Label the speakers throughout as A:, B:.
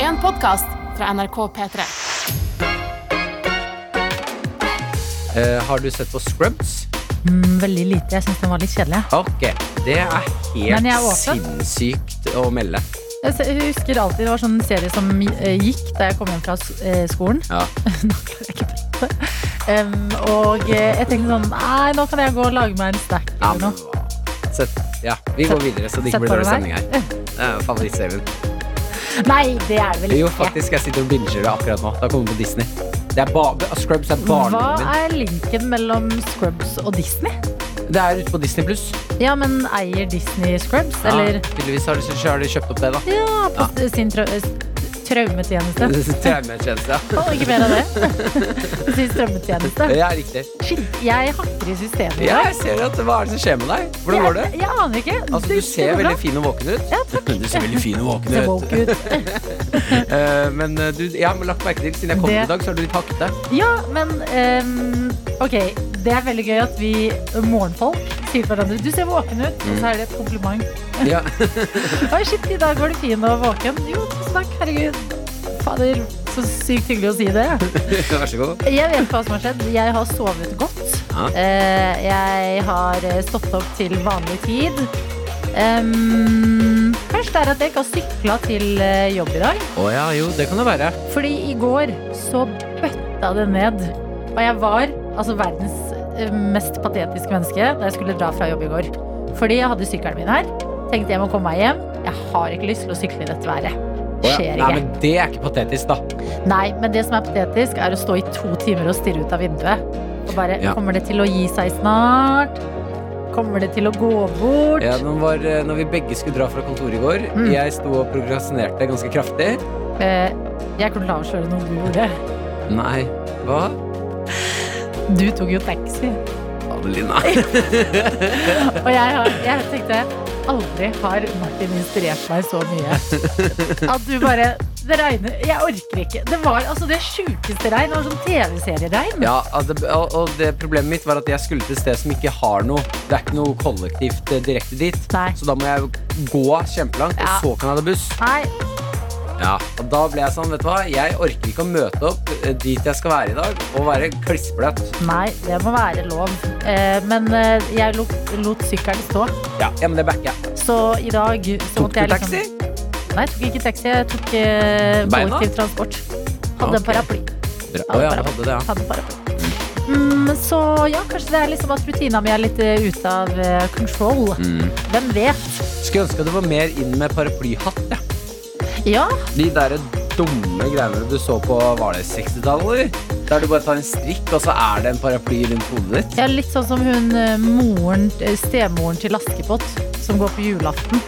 A: en podkast fra NRK P3.
B: Eh, har du sett på Scrubs?
C: Mm, veldig lite. Jeg syns den var litt kjedelig.
B: Ok, det er
C: Men jeg er
B: helt
C: åpen.
B: sinnssykt å melde.
C: Jeg s- Altså, jeg husker alltid det var sånn serie som eh, gikk da jeg kom hjem fra s- eh, skolen.
B: Ja.
C: Nå klarer jeg ikke å prate. Em, og eh, jeg tenkte sånn Nei, nå kan jeg gå og lage meg en snack
B: Ja,
C: eller
B: men,
C: noe.
B: sett, ja, vi går videre, så det
C: Sett
B: ikke blir
C: for
B: dårlig
C: deg.
B: stemning her. Det er favorittserien.
C: Nei, det er det vel ikke.
B: Jo, faktisk, jeg sitter og binger det akkurat nå. Da kommer det på Disney. Det er ba Scrubs er
C: Hva
B: barndommen min.
C: er linken mellom Scrubs og Disney?
B: Det er ute på Disney pluss.
C: Ja, men eier Disney Scrubs,
B: Ja,
C: eller
B: tydeligvis har de, så har de kjøpt opp det, da.
C: Ja, på sin trau eh, traumetjeneste.
B: Traumetjeneste. ja.
C: Og ikke mer av det. sin strømmetjeneste.
B: Ja, riktig.
C: Shit, jeg hakker i systemet. i
B: Ja,
C: dag.
B: jeg ser at Hva er det som skjer med deg? Hvordan går det?
C: Jeg, jeg aner ikke.
B: Altså, Du
C: Det- det
B: ser
C: går bra.
B: veldig fin og våken ut.
C: Ja, takk.
B: Du ser veldig fin og våken
C: Ser
B: ut.
C: woke ut.
B: Eh, Men eh, du, jeg har lagt merke til siden jeg kom
C: Det-
B: i dag, så har du litt hakket deg.
C: Ja, men ehm, ok, det er veldig gøy at vi morgenfolk sier til hverandre Du ser våken ut, og så er det et kompliment.
B: Ja.
C: Oi, shit, i dag var du fin og våken. Jo, tusen takk, herregud. Fader, så sykt hyggelig å si det.
B: Vær så god.
C: Jeg vet hva som har skjedd. Jeg har sovet godt.
B: Ja.
C: Eh, jeg har eh, stått opp til vanlig tid. Ehm, først er at jeg ikke har sykla til eh, jobb i dag.
B: Å ja, jo, det kan det være.
C: Fordi i går så bøtta det ned. Og jeg var altså verdens eh, mest patetiske menneske da jeg skulle dra fra jobb i går. Fordi jeg hadde sykkelen min her. Tenkte jeg må komme meg hjem. Jeg har ikke lyst til å sykle i dette været.
B: Å ja.
C: Skjer
B: Nei,
C: ikke.
B: men Det er ikke patetisk, da.
C: Nei, men det som er patetisk, er å stå i to timer og stirre ut av vinduet. Og bare
B: Ja.
C: Kommer det til å gi seg snart? Kommer det til å gå bort?
B: Ja, når, var, eh, når vi begge skulle dra fra kontoret i går,
C: Mm.
B: jeg sto og prokrastinerte ganske kraftig.
C: Eh, jeg kunne la avsløre noe du gjorde.
B: Nei, hva?
C: Du tok jo taxi.
B: Adelina.
C: Og jeg, har, jeg tenkte aldri har Martin inspirert meg så mye. At du bare Det regner Jeg orker ikke. Det var altså det sjukeste regn. Det var sånn TV-serieregn.
B: Ja, at det, og, og det problemet mitt var at jeg skulle til et sted som ikke har noe. Det er ikke noe kollektivt eh, direkte dit.
C: Nei.
B: Så da må jeg gå kjempelangt,
C: Ja.
B: og så kan jeg ta buss.
C: Nei,
B: Ja. Og da ble jeg sånn, vet du hva, jeg orker ikke å møte opp eh, dit jeg skal være i dag, og være klissbløt.
C: nei, det må være lov. Eh, men eh, jeg lot, lot sykkelen stå.
B: Ja. ja, men det backer jeg.
C: Så i dag så
B: Tok
C: måtte
B: du
C: jeg liksom
B: taxi?
C: Nei, jeg tok ikke taxi. Jeg tok eh,
B: Beina?
C: kollektivtransport. Hadde en
B: Ok.
C: paraply.
B: Bra. Å ja, du hadde det, ja.
C: Hadde en paraply. Mm, så ja, kanskje det er liksom at rutina mi er litt eh, ute av eh, control.
B: Mm.
C: Hvem vet?
B: Skulle ønske at det var mer inn med paraplyhatt. Ja.
C: Ja,
B: De der dumme greiene du så på var det 60-tallet, eller? Der du bare tar en strikk, og så er det en paraply rundt hodet ditt.
C: jeg er litt sånn som hun eh, moren, eh, stemoren til Askepott som går på julaften.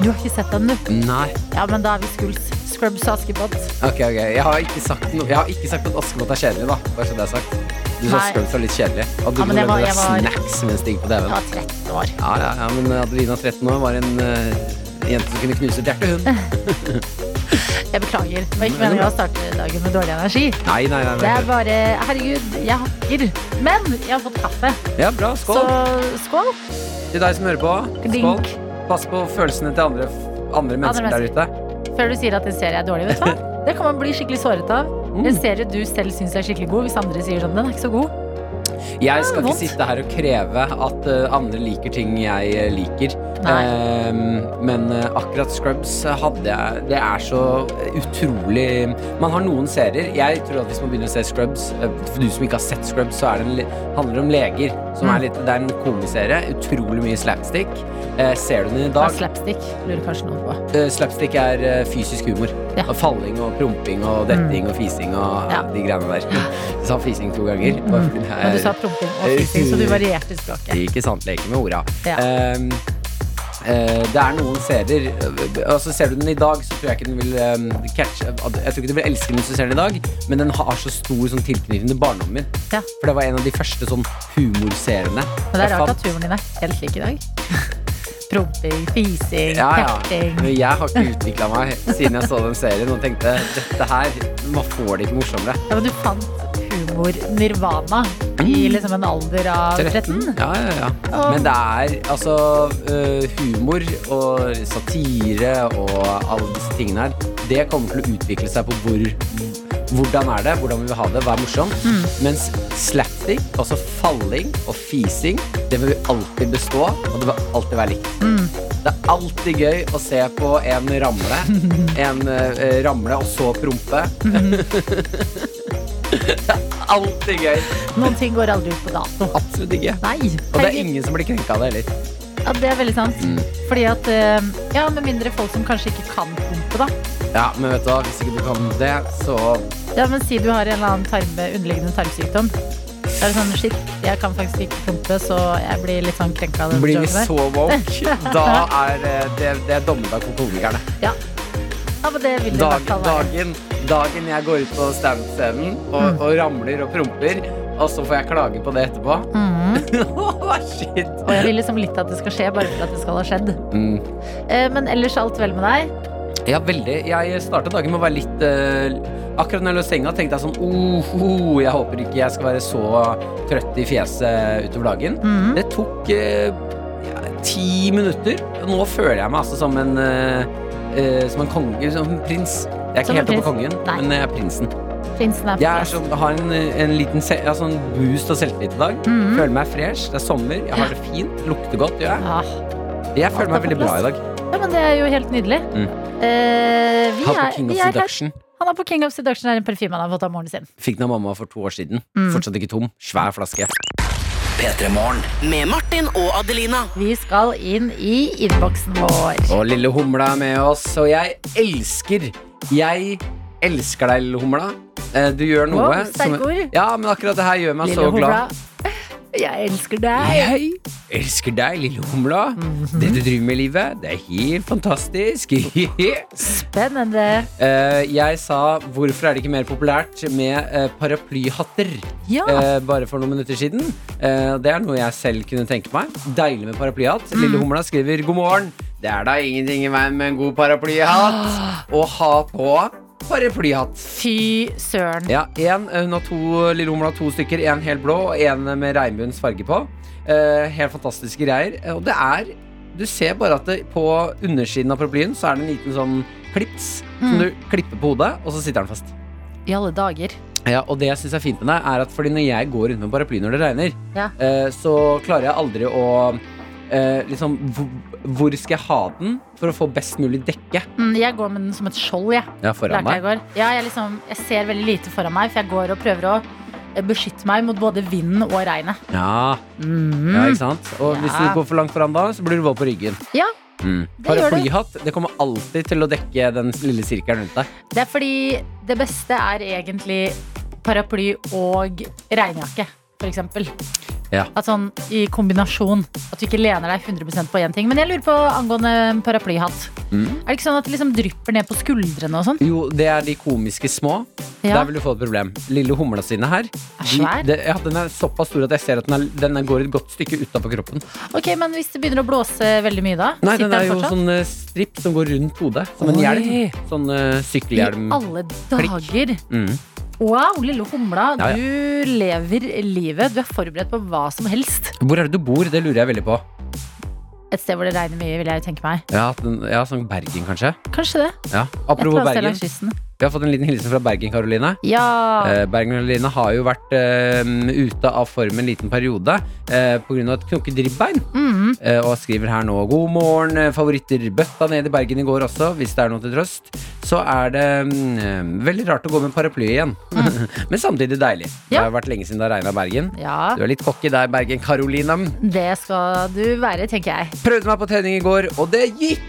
C: Du har ikke sett den, du?
B: Nei.
C: Ja, men da er vi skuls. Scrubs og Askepott.
B: Ok, ok. Jeg har ikke sagt, noe- jeg har ikke sagt at Askepott er kjedelig, da. Bare så det er sagt. Du sa
C: Nei.
B: Scrubs var litt kjedelig. Og du
C: Ja, men det
B: ja,
C: var-
B: med
C: jeg var-
B: snacks mens det gikk på TV-en.
C: Jeg
B: Ja.
C: var 13 år.
B: ja, ja, men Adelina 13 år var en eh, jente som kunne knuse et hjerte, hun.
C: Jeg beklager. Det var ikke meningen å starte dagen med dårlig energi.
B: Nei, nei, nei.
C: Det er
B: nei.
C: bare Herregud, jeg hakker. Men jeg har fått kaffe.
B: Ja, bra. Skål.
C: Så skål.
B: Til deg som hører på. Skål.
C: Klink.
B: Pass på følelsene til andre, andre mennesker der
C: mennesker.
B: ute.
C: Før du sier at en serie er dårlig, vet du hva? Det kan man bli skikkelig såret av. En
B: Mm.
C: serie du selv syns er skikkelig god, hvis andre sier sånn, den er ikke så god.
B: Jeg skal ikke
C: vondt.
B: sitte her og kreve at eh, andre liker ting jeg eh, liker.
C: Nei.
B: Ehm, men eh, akkurat Scrubs hadde jeg Det er så utrolig Man har noen serier. Jeg tror at hvis man begynner å se Scrubs eh, For du som ikke har sett Scrubs, så er det en, li- handler det om leger. Som
C: Mm.
B: er litt, det er en komiserie. Utrolig mye slapstick. Eh, ser du den i
C: Det
B: dag?
C: er slapstick, lurer kanskje noen på.
B: Eh, slapstick er eh, fysisk humor.
C: Ja. Mm.
B: Og Falling og promping og detting og fising og
C: Ja.
B: de greiene der. Jeg sa fising to ganger. bare fordi det
C: Men
B: er-
C: du sa promping og fisting, så du varierte språket.
B: Ikke sant, leke med orda.
C: Ja.
B: Ehm, eh, det er noen serier eh, altså Ser du den i dag, så tror jeg ikke den vil ehm, catch Jeg tror ikke du vil elske den hvis du ser den i dag, men den har så stor sånn, tilknytning til barndommen min.
C: Ja.
B: For det var en av de første sånn humorseriene.
C: Men det
B: jeg
C: er
B: fant.
C: rart at turen din er helt lik i dag. Promping, fising,
B: ja, ja.
C: kjetting.
B: Men jeg har ikke utvikla meg siden jeg så den serien og tenkte dette her Man får det ikke morsommere.
C: Ja, men du fant humor-nirvana i
B: Mm.
C: liksom en alder av 13.
B: Ja, ja, ja. Men det er altså eh, humor og satire og alle disse tingene her. det kommer til å utvikle seg på hvor hvordan er det, hvordan vil vi ha det, hva er morsomt. Mens slapstick, altså falling og fising, det vil alltid bestå, og det vil alltid være likt. Det er alltid gøy å se på en ramle, en eh, ramle og så prompe. det er alltid gøy.
C: Noen ting går aldri ut på dato.
B: Absolutt ikke.
C: Nei.
B: Og det er
C: herregud.
B: ingen som blir krenka av det heller.
C: Ja, det er veldig sant.
B: Mm.
C: Fordi at eh, Ja, med mindre folk som kanskje ikke kan pumpe, da.
B: Ja, men vet du hva, hvis ikke du kan det, så
C: Ja, men si du har en eller annen tarme, underliggende tarmsykdom. Da er det sånn shit, jeg kan faktisk ikke pumpe, så jeg blir litt sånn krenka av den
B: blir vi
C: jobben der.
B: så woke. Da er eh, det, det er dommedag for komikerne.
C: Ja. ja, men det vil det Mm. i
B: Dag,
C: hvert fall være.
B: dagen, dagen jeg går ut på standup-scenen og, og ramler og promper, og så får jeg klage på det etterpå.
C: Mhm.
B: Shit.
C: Og jeg vil liksom litt at det skal skje, bare for at det skal ha skjedd.
B: Mm.
C: Eh, men ellers alt vel med deg?
B: Ja, veldig. Jeg starta dagen med å være litt eh, Akkurat når jeg lå i senga, tenkte jeg sånn oh, oh, Jeg håper ikke jeg skal være så trøtt i fjeset utover dagen.
C: Mhm.
B: Det tok eh, ja, ti minutter. Nå føler jeg meg altså som en eh, eh, Som en konge. Som en prins. Jeg er ikke
C: Som en
B: helt oppe på
C: prins.
B: kongen,
C: Nei.
B: men jeg er prinsen.
C: Prinsen er
B: Jeg er
C: fresh.
B: så, har en, en liten se, altså en boost av selvtillit i dag.
C: Mhm.
B: Føler meg fresh. Det er sommer. Jeg har det fint. Lukter godt. Gjør jeg.
C: Ah.
B: jeg føler meg
C: Alt er på
B: veldig bra i dag.
C: Ja, men det er jo helt nydelig. Eh, vi
B: Har Mm. på
C: er,
B: King
C: vi
B: of
C: er her.
B: Seduction.
C: Han er på King of Seduction, er en parfyme han har fått av moren sin.
B: Fikk den av mamma for to år siden.
C: Mm.
B: Fortsatt ikke tom. Svær flaske.
D: Med Martin og Adelina.
C: Vi skal inn i innboksen vår.
B: Og lille humla er med oss, og jeg elsker Jeg elsker deg, lille humla. Eh, Du gjør noe
C: Wow, sterke ord.
B: Ja, men akkurat det her gjør meg så glad.
C: Hora, jeg elsker deg.
B: Jeg elsker deg, lille humla.
C: Mhm.
B: Det du driver med i livet, det er helt fantastisk.
C: Spennende.
B: Eh, jeg sa 'Hvorfor er det ikke mer populært med eh, paraplyhatter?'
C: Ja.
B: eh, bare for noen minutter siden. Eh, det er noe jeg selv kunne tenke meg. Deilig med paraplyhatt. Lille Humla skriver 'God morgen'. Det er da ingenting i veien med en god paraplyhatt. Å ha på paraplyhatt.
C: Fy søren.
B: Ja, en, eh, hun har to, Lille Humla har to stykker. En helt blå og en med regnbuens farge på. Eh, helt fantastiske greier. Eh, Og det er Du ser bare at det, på undersiden av paraplyen så er det en liten sånn klips som
C: Mm.
B: du klipper på hodet, og så sitter den fast.
C: I alle dager.
B: Ja, og det jeg synes er fint med deg, er at fordi når jeg går rundt med paraply når det regner,
C: Ja.
B: eh, så klarer jeg aldri å eh, Liksom, hvor, hvor skal jeg ha den for å få best mulig dekke?
C: Mm, jeg går med den som et skjold, jeg.
B: Ja, foran
C: Lærte jeg i
B: meg.
C: går. Ja, jeg, liksom, jeg ser veldig lite foran meg, for jeg går og prøver å eh, beskytte meg mot både vinden og regnet.
B: Ja,
C: Mm.
B: ja, ikke sant? Og hvis
C: Ja.
B: du går for langt foran da, så blir du våt på ryggen.
C: Ja,
B: Mm.
C: det gjør du.
B: Paraplyhatt det kommer alltid til å dekke den lille sirkelen rundt deg.
C: Det er fordi det beste er egentlig paraply og regnjakke, for eksempel.
B: Ja.
C: At sånn i kombinasjon. At du ikke lener deg 100 på én ting. Men jeg lurer på angående paraplyhatt.
B: Mm.
C: Er det ikke sånn at det liksom drypper ned på skuldrene og sånn?
B: Jo, det er de komiske små.
C: Ja.
B: Der vil du få et problem. Lille humla sine her.
C: svær.
B: de, ja, den er såpass stor at jeg ser at den, er, den er- går et godt stykke utapå kroppen.
C: Ok, Men hvis det begynner å blåse veldig mye, da?
B: Nei, den er
C: den
B: jo
C: fortsatt?
B: sånn eh, stripp som går rundt hodet. Som en
C: Oi.
B: hjelm. Sånn eh,
C: I
B: sykkelhjelm.
C: alle dager!
B: Mm.
C: Wow, lille humla.
B: Ja, ja.
C: Du lever livet. Du er forberedt på hva som helst.
B: Hvor er det du bor? Det lurer jeg veldig på.
C: Et sted hvor det regner mye, vil jeg jo tenke meg.
B: Ja, den, ja sånn Bergen, kanskje.
C: Kanskje det.
B: Ja.
C: Et eller
B: Apropos
C: annet sted
B: Bergen.
C: langs kysten.
B: Vi har fått en liten hilsen fra Bergen, Karoline.
C: Ja.
B: Eh, Bergen-Karoline har jo vært eh, ute av form en liten periode eh, pga. et knokket ribbein.
C: Mhm.
B: Eh, og skriver her nå 'God morgen, eh, favoritter bøtta ned i Bergen i går også', hvis det er noe til trøst. Så er det mm, eh, veldig rart å gå med paraply igjen, men samtidig deilig. Det
C: Mm. Ja.
B: har vært lenge siden det har regna i Bergen.
C: ja.
B: Du er litt cocky der, Bergen-Karoline.
C: Det skal du være, tenker jeg.
B: Prøvde meg på trening i går, og det gikk!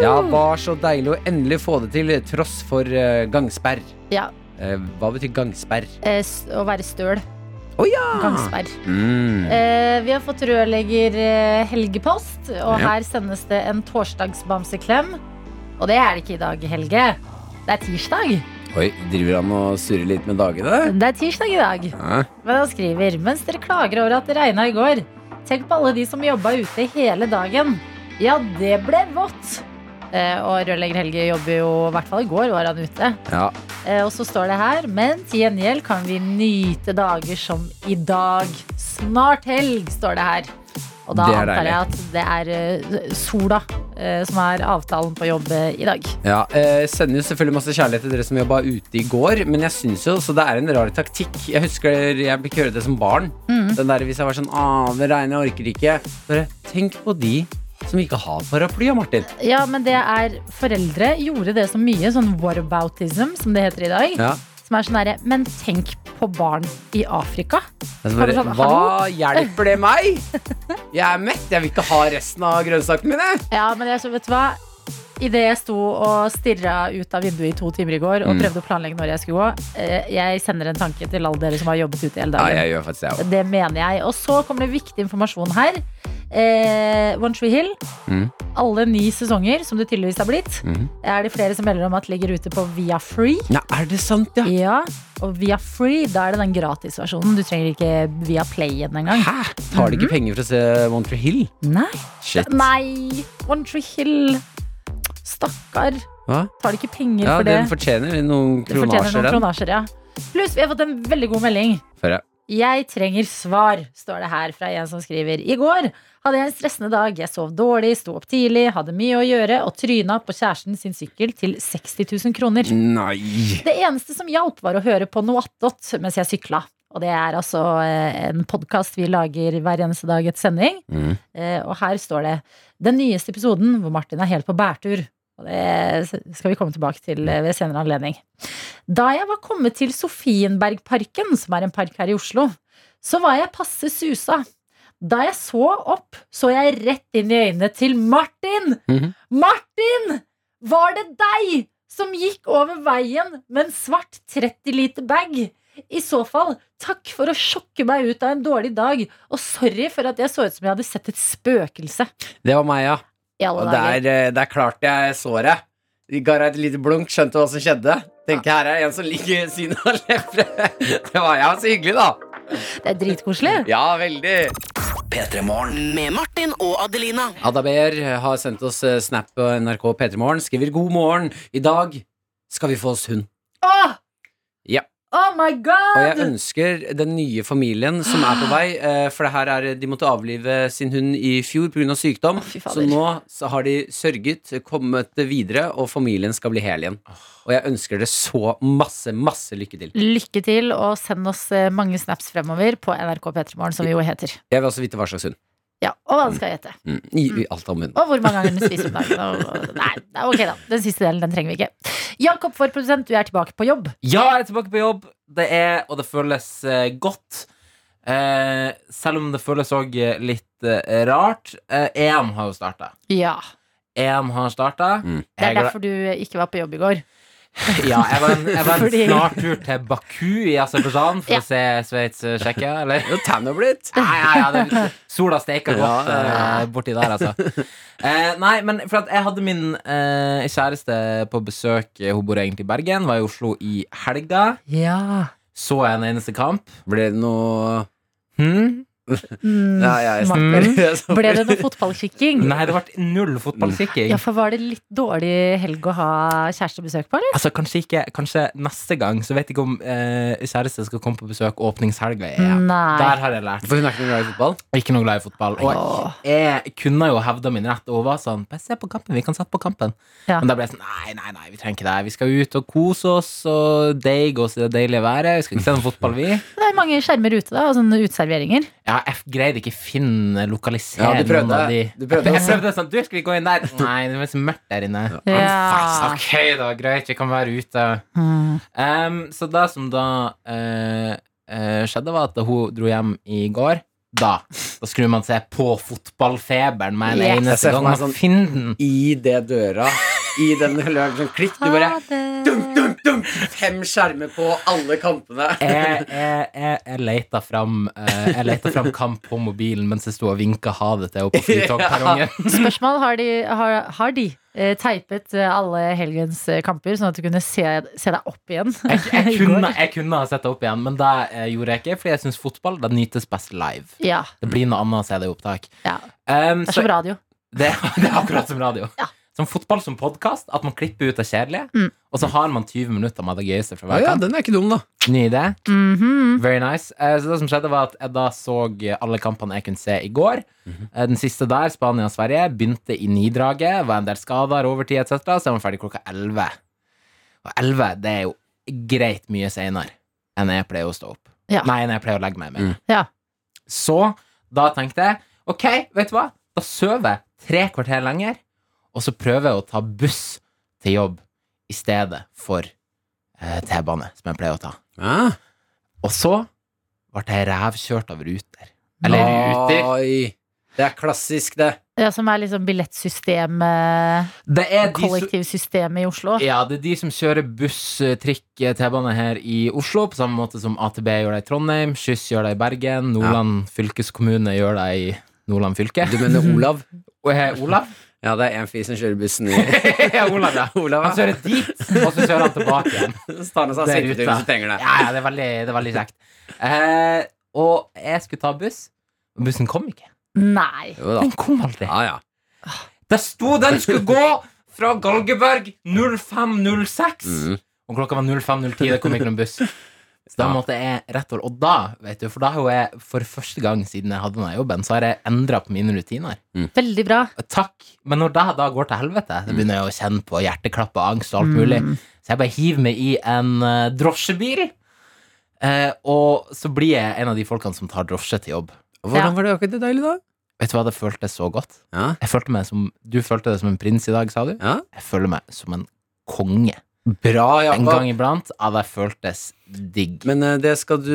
B: Ja, var så deilig å endelig få det til, tross for eh, gangsperr.
C: Ja,
B: Eh, hva betyr gangsperr?
C: eh, s- Å være støl.
B: Å ja!
C: Gangsperr.
B: Mm.
C: Eh, vi har fått rørlegger eh, Helgepost, og
B: Ja.
C: her sendes det en torsdagsbamseklem. Og det er det ikke i dag, Helge. Det er tirsdag.
B: Oi, driver han og surrer litt med dagene?
C: Det er tirsdag i dag.
B: Ja.
C: Men han skriver Mens dere klager over at det regna i går, tenk på alle de som jobba ute hele dagen. Ja, det ble vått. Eh, og rørlegger Helge jobber jo, i hvert fall i går var han ute.
B: ja.
C: Eh, Og så står det her Men til gjengjeld kan vi nyte dager som i dag Snart helg, står det her Og da
B: Det er
C: antar jeg at det er eh, sola eh, som er avtalen på jobb eh, i dag.
B: Ja, eh, Sender jo selvfølgelig masse kjærlighet til dere som jobba ute i går, men jeg syns jo så det er en rar taktikk. Jeg husker jeg ble ikke hørt det som barn. Den der Hvis jeg var sånn ah, det regner, jeg orker ikke. Bare tenk på de som ikke har paraply, ja, Martin.
C: Ja, men det er Foreldre gjorde det så mye, sånn whataboutism, som det heter i dag.
B: Ja.
C: Som er sånn derre Men tenk på barn i Afrika.
B: Altså bare,
C: Bare sånn,
B: Hva hjelper det meg? Jeg er mett, jeg vil ikke ha resten av grønnsakene mine.
C: Ja, men jeg, så vet du hva? Idet jeg sto og stirra ut av vinduet i to timer i går og
B: Mm.
C: prøvde å planlegge når jeg skulle gå, eh, jeg sender en tanke til alle dere som har jobbet ute hele dagen.
B: gjør faktisk det
C: Det mener jeg. Og så kommer det viktig informasjon her. Eh, One Tree Hill.
B: Mm.
C: Alle ni sesonger, som det tydeligvis har blitt,
B: Mhm.
C: er det flere som melder om at ligger ute på Via Free.
B: Nei, er det sant, ja?
C: Ja, og Via Free, da er det den gratisversjonen. Du trenger ikke Via Playen engang.
B: Hæ? Tar de ikke penger for å se One Tree Hill?
C: Nei.
B: Shit.
C: Nei! One Tree Hill. Stakkar.
B: Hva?
C: Tar de ikke penger
B: Ja,
C: for det?
B: den fortjener noen
C: Det fortjener
B: kronasjer,
C: noen
B: den.
C: kronasjer, ja. Pluss, vi har fått en veldig god melding.
B: Får jeg.
C: Jeg trenger svar, står det her fra en som skriver. I går hadde jeg en stressende dag. Jeg sov dårlig, sto opp tidlig, hadde mye å gjøre og tryna på kjæresten sin sykkel til 60 000 kroner.
B: Nei.
C: Det eneste som hjalp, var å høre på noe attåt mens jeg sykla. Og det er altså eh, en podkast vi lager hver eneste dag etter sending.
B: Mm.
C: Eh, Og her står det den nyeste episoden hvor Martin er helt på bærtur. Og det skal vi komme tilbake til eh, ved senere anledning. Da jeg var kommet til Sofienbergparken, som er en park her i Oslo, så var jeg passe susa. Da jeg så opp, så jeg rett inn i øynene til Martin.
B: Mhm.
C: Martin! Var det deg som gikk over veien med en svart 30 liter bag? I så fall, takk for å sjokke meg ut av en dårlig dag, og sorry for at jeg så ut som jeg hadde sett et spøkelse.
B: Det var meg, ja.
C: I alle
B: Og
C: dager.
B: der, eh, der klarte jeg såret. Ga deg et lite blunk, skjønte hva som skjedde. Tenkte her er en som ligger ved siden av levre. Det var ja, så hyggelig, da.
C: Det er dritkoselig.
B: Ja, veldig.
D: Med Martin og Adelina.
B: Ada Beer har sendt oss eh, snap på NRK P3 Morgen. Skriver 'God morgen'. I dag skal vi få oss hund.
C: Åh!
B: Ja.
C: Oh my
B: Og jeg
C: god!
B: ønsker den nye familien som er på vei, eh, for det her er de måtte avlive sin hund i fjor pga. sykdom.
C: Å, fy fader.
B: Så nå så har de sørget, kommet videre, og familien skal bli hel igjen. Og jeg ønsker det så masse, masse lykke til.
C: Lykke til, og send oss eh, mange snaps fremover på NRK P3morgen, som vi jo heter.
B: Jeg vil også vite hva slags hund.
C: Ja, Og hva den skal hete.
B: Mm. I, i alt om hunden.
C: Og hvor mange ganger den spiser om dagen. Og, og, nei, nei, ok da. Den siste delen den trenger vi ikke. Jakob, vår produsent, du er tilbake på jobb.
E: Ja, jeg er tilbake på jobb. Det er, og det føles eh, godt. Eh, selv om det føles òg litt eh, rart. Eh, EM har jo starta.
C: Ja.
E: EM har starta.
B: Mm.
C: Det er derfor du ikke var på jobb i går.
E: Ja, jeg var en, jeg var en
C: Fordi-
E: snartur til Baku i Aserbajdsjan for
C: Ja.
E: å se Sveits-Tsjekkia, eller?
B: Det er tan og blitt.
E: Ja, ja, ja, det, sola steker godt
B: Ja, ja,
E: eh, borti der, altså. Eh, nei, men for at jeg hadde min eh, kjæreste på besøk. eh, Hun bor egentlig i Bergen, var i Oslo i helga.
C: Ja.
E: Så en eneste kamp.
B: Ble det noe
E: Hm?
C: Mm,
B: Ja, ja, jeg
C: Martin. Ble
B: Ble
C: det noe fotballkikking?
E: Nei, det ble null fotballkikking.
C: Ja, for var det litt dårlig helg å ha kjærestebesøk på, eller?
E: Altså, kanskje ikke Kanskje neste gang, så vet jeg ikke om eh, kjæreste skal komme på besøk åpningshelga. i EM.
C: Mm, Nei.
E: Der har jeg lært.
B: For hun er ikke noe glad i fotball?
E: Ikke noe glad i fotball.
C: Åh.
E: Og jeg kunne jo hevda min rett og var sånn Bare se på kampen, vi kan sette på kampen.
C: Ja.
E: Men da ble jeg sånn Nei, nei, nei, vi trenger ikke det. Vi skal ut og kose oss og deige oss i det deilige været. Vi skal ikke se noe fotball, vi.
C: Det er mange skjermer ute, da, og sånne uteserveringer.
E: Ja, jeg greide ikke finne lokalisere
B: Ja, du
E: noen av de
B: prøvde. Du prøvde
E: Jeg
B: også.
E: prøvde sånn Du, skal vi gå inn der? Nei, det er så mørkt der inne.
C: Ja.
E: Ok, da. Greit, vi kan være ute.
C: Mm.
E: Em, så det som da eh, eh, skjedde, var at da hun dro hjem i går da, da skrur man seg på fotballfeberen
C: Yes.
E: med en
B: Jeg ser
E: eneste
B: for
E: gang.
B: meg
E: Sånn...
B: sånn-
E: Finn den!
B: I det døra, i den løven som klikk, du bare
C: Ha det.
B: dum, dum, dum, Fem skjermer på alle kampene.
E: Jeg, jeg, jeg, jeg leita fram, eh, jeg leita fram kamp på mobilen mens jeg sto og vinka ha det til henne på flytogperrongen.
C: Spørsmål har de, har, har de eh, teipet eh, alle helgens eh, kamper, sånn at du kunne se, se deg opp igjen?
E: Jeg, jeg, kunne, jeg kunne ha sett det opp igjen, men det eh, gjorde jeg ikke, fordi jeg syns fotball det nytes best live.
C: Ja.
E: Det blir noe annet å se det i opptak.
C: ja.
E: Em,
C: Det er
E: så
C: som radio.
E: Det, det er akkurat som radio.
C: Ja.
E: Som fotball som podkast, at man klipper ut det kjedelige,
C: Mm.
E: og så har man 20 minutter med det gøyeste fra
B: Ja,
E: hver
B: ja,
E: kamp.
B: den er ikke dum, da.
E: Ny idé.
C: Mhm.
E: Very nice. Eh, Så det som skjedde var at jeg da så eh, alle kampene jeg kunne se i går. Eh, Den siste der, Spania og Sverige, begynte i nidraget. Var en del skader, overtid etc. Så jeg var ferdig klokka 11. Og 11 det er jo greit mye seinere enn jeg pleier å stå opp.
C: Ja.
E: Nei, enn jeg pleier å legge meg med.
B: Mm.
C: Ja.
E: Så da tenkte jeg ok, vet du hva? Da sover jeg tre kvarter lenger, og så prøver jeg å ta buss til jobb i stedet for eh, T-bane, som jeg pleier å ta.
B: Ja.
E: Og så ble jeg revkjørt av ruter. Eller ruter.
B: Oi. Det er klassisk, det.
C: Ja, som er liksom billettsystemet,
E: Det er de som,
C: kollektivsystemet i Oslo.
E: ja, det er de som kjører buss, trikk, T-bane her i Oslo, på samme måte som AtB gjør det i Trondheim, Skyss gjør det i Bergen, Nordland fylkeskommune gjør det i Nordland fylke.
B: Du mener Olav?
E: Og eh, Olav?
B: Ja, det er en fyr som kjører bussen i
E: ja, Olav, ja.
B: Olav,
E: Han kjører dit, og så kjører han tilbake igjen.
B: Så tar han seg
E: Det er
B: siktetur
E: ruta.
B: hvis du trenger det.
E: Ja, ja, det er veldig, det er veldig kjekt. Eh, og jeg skulle ta buss, og bussen kom ikke.
C: Nei.
B: Jo da.
E: Den kom aldri.
B: Ja, ja.
E: Det sto den skulle gå fra Galgeberg 0506,
B: Mm.
E: og klokka var 05.10. Det kom ikke noen buss. Så da
B: Ja.
E: måtte jeg rett over. Og da, vet du, for da har jo jeg for første gang siden jeg hadde denne jobben, så har jeg endra på mine rutiner.
C: Veldig bra.
E: Takk. Men når det da går til helvete,
B: Mm.
E: så begynner jeg å kjenne på hjerteklapp og angst og alt mulig. Så jeg bare hiver meg i en eh, drosjebil, eh, og så blir jeg en av de folkene som tar drosje til jobb.
B: Hvordan var det akkurat det deilig, da?
E: Vet du hva, det føltes så godt.
B: Ja.
E: Jeg følte meg som, du følte deg som en prins i dag, sa du?
B: ja.
E: Jeg føler meg som en konge.
B: Bra,
E: En
B: Jakob.
E: gang iblant. Ja, det føltes digg.
B: Men eh, det skal du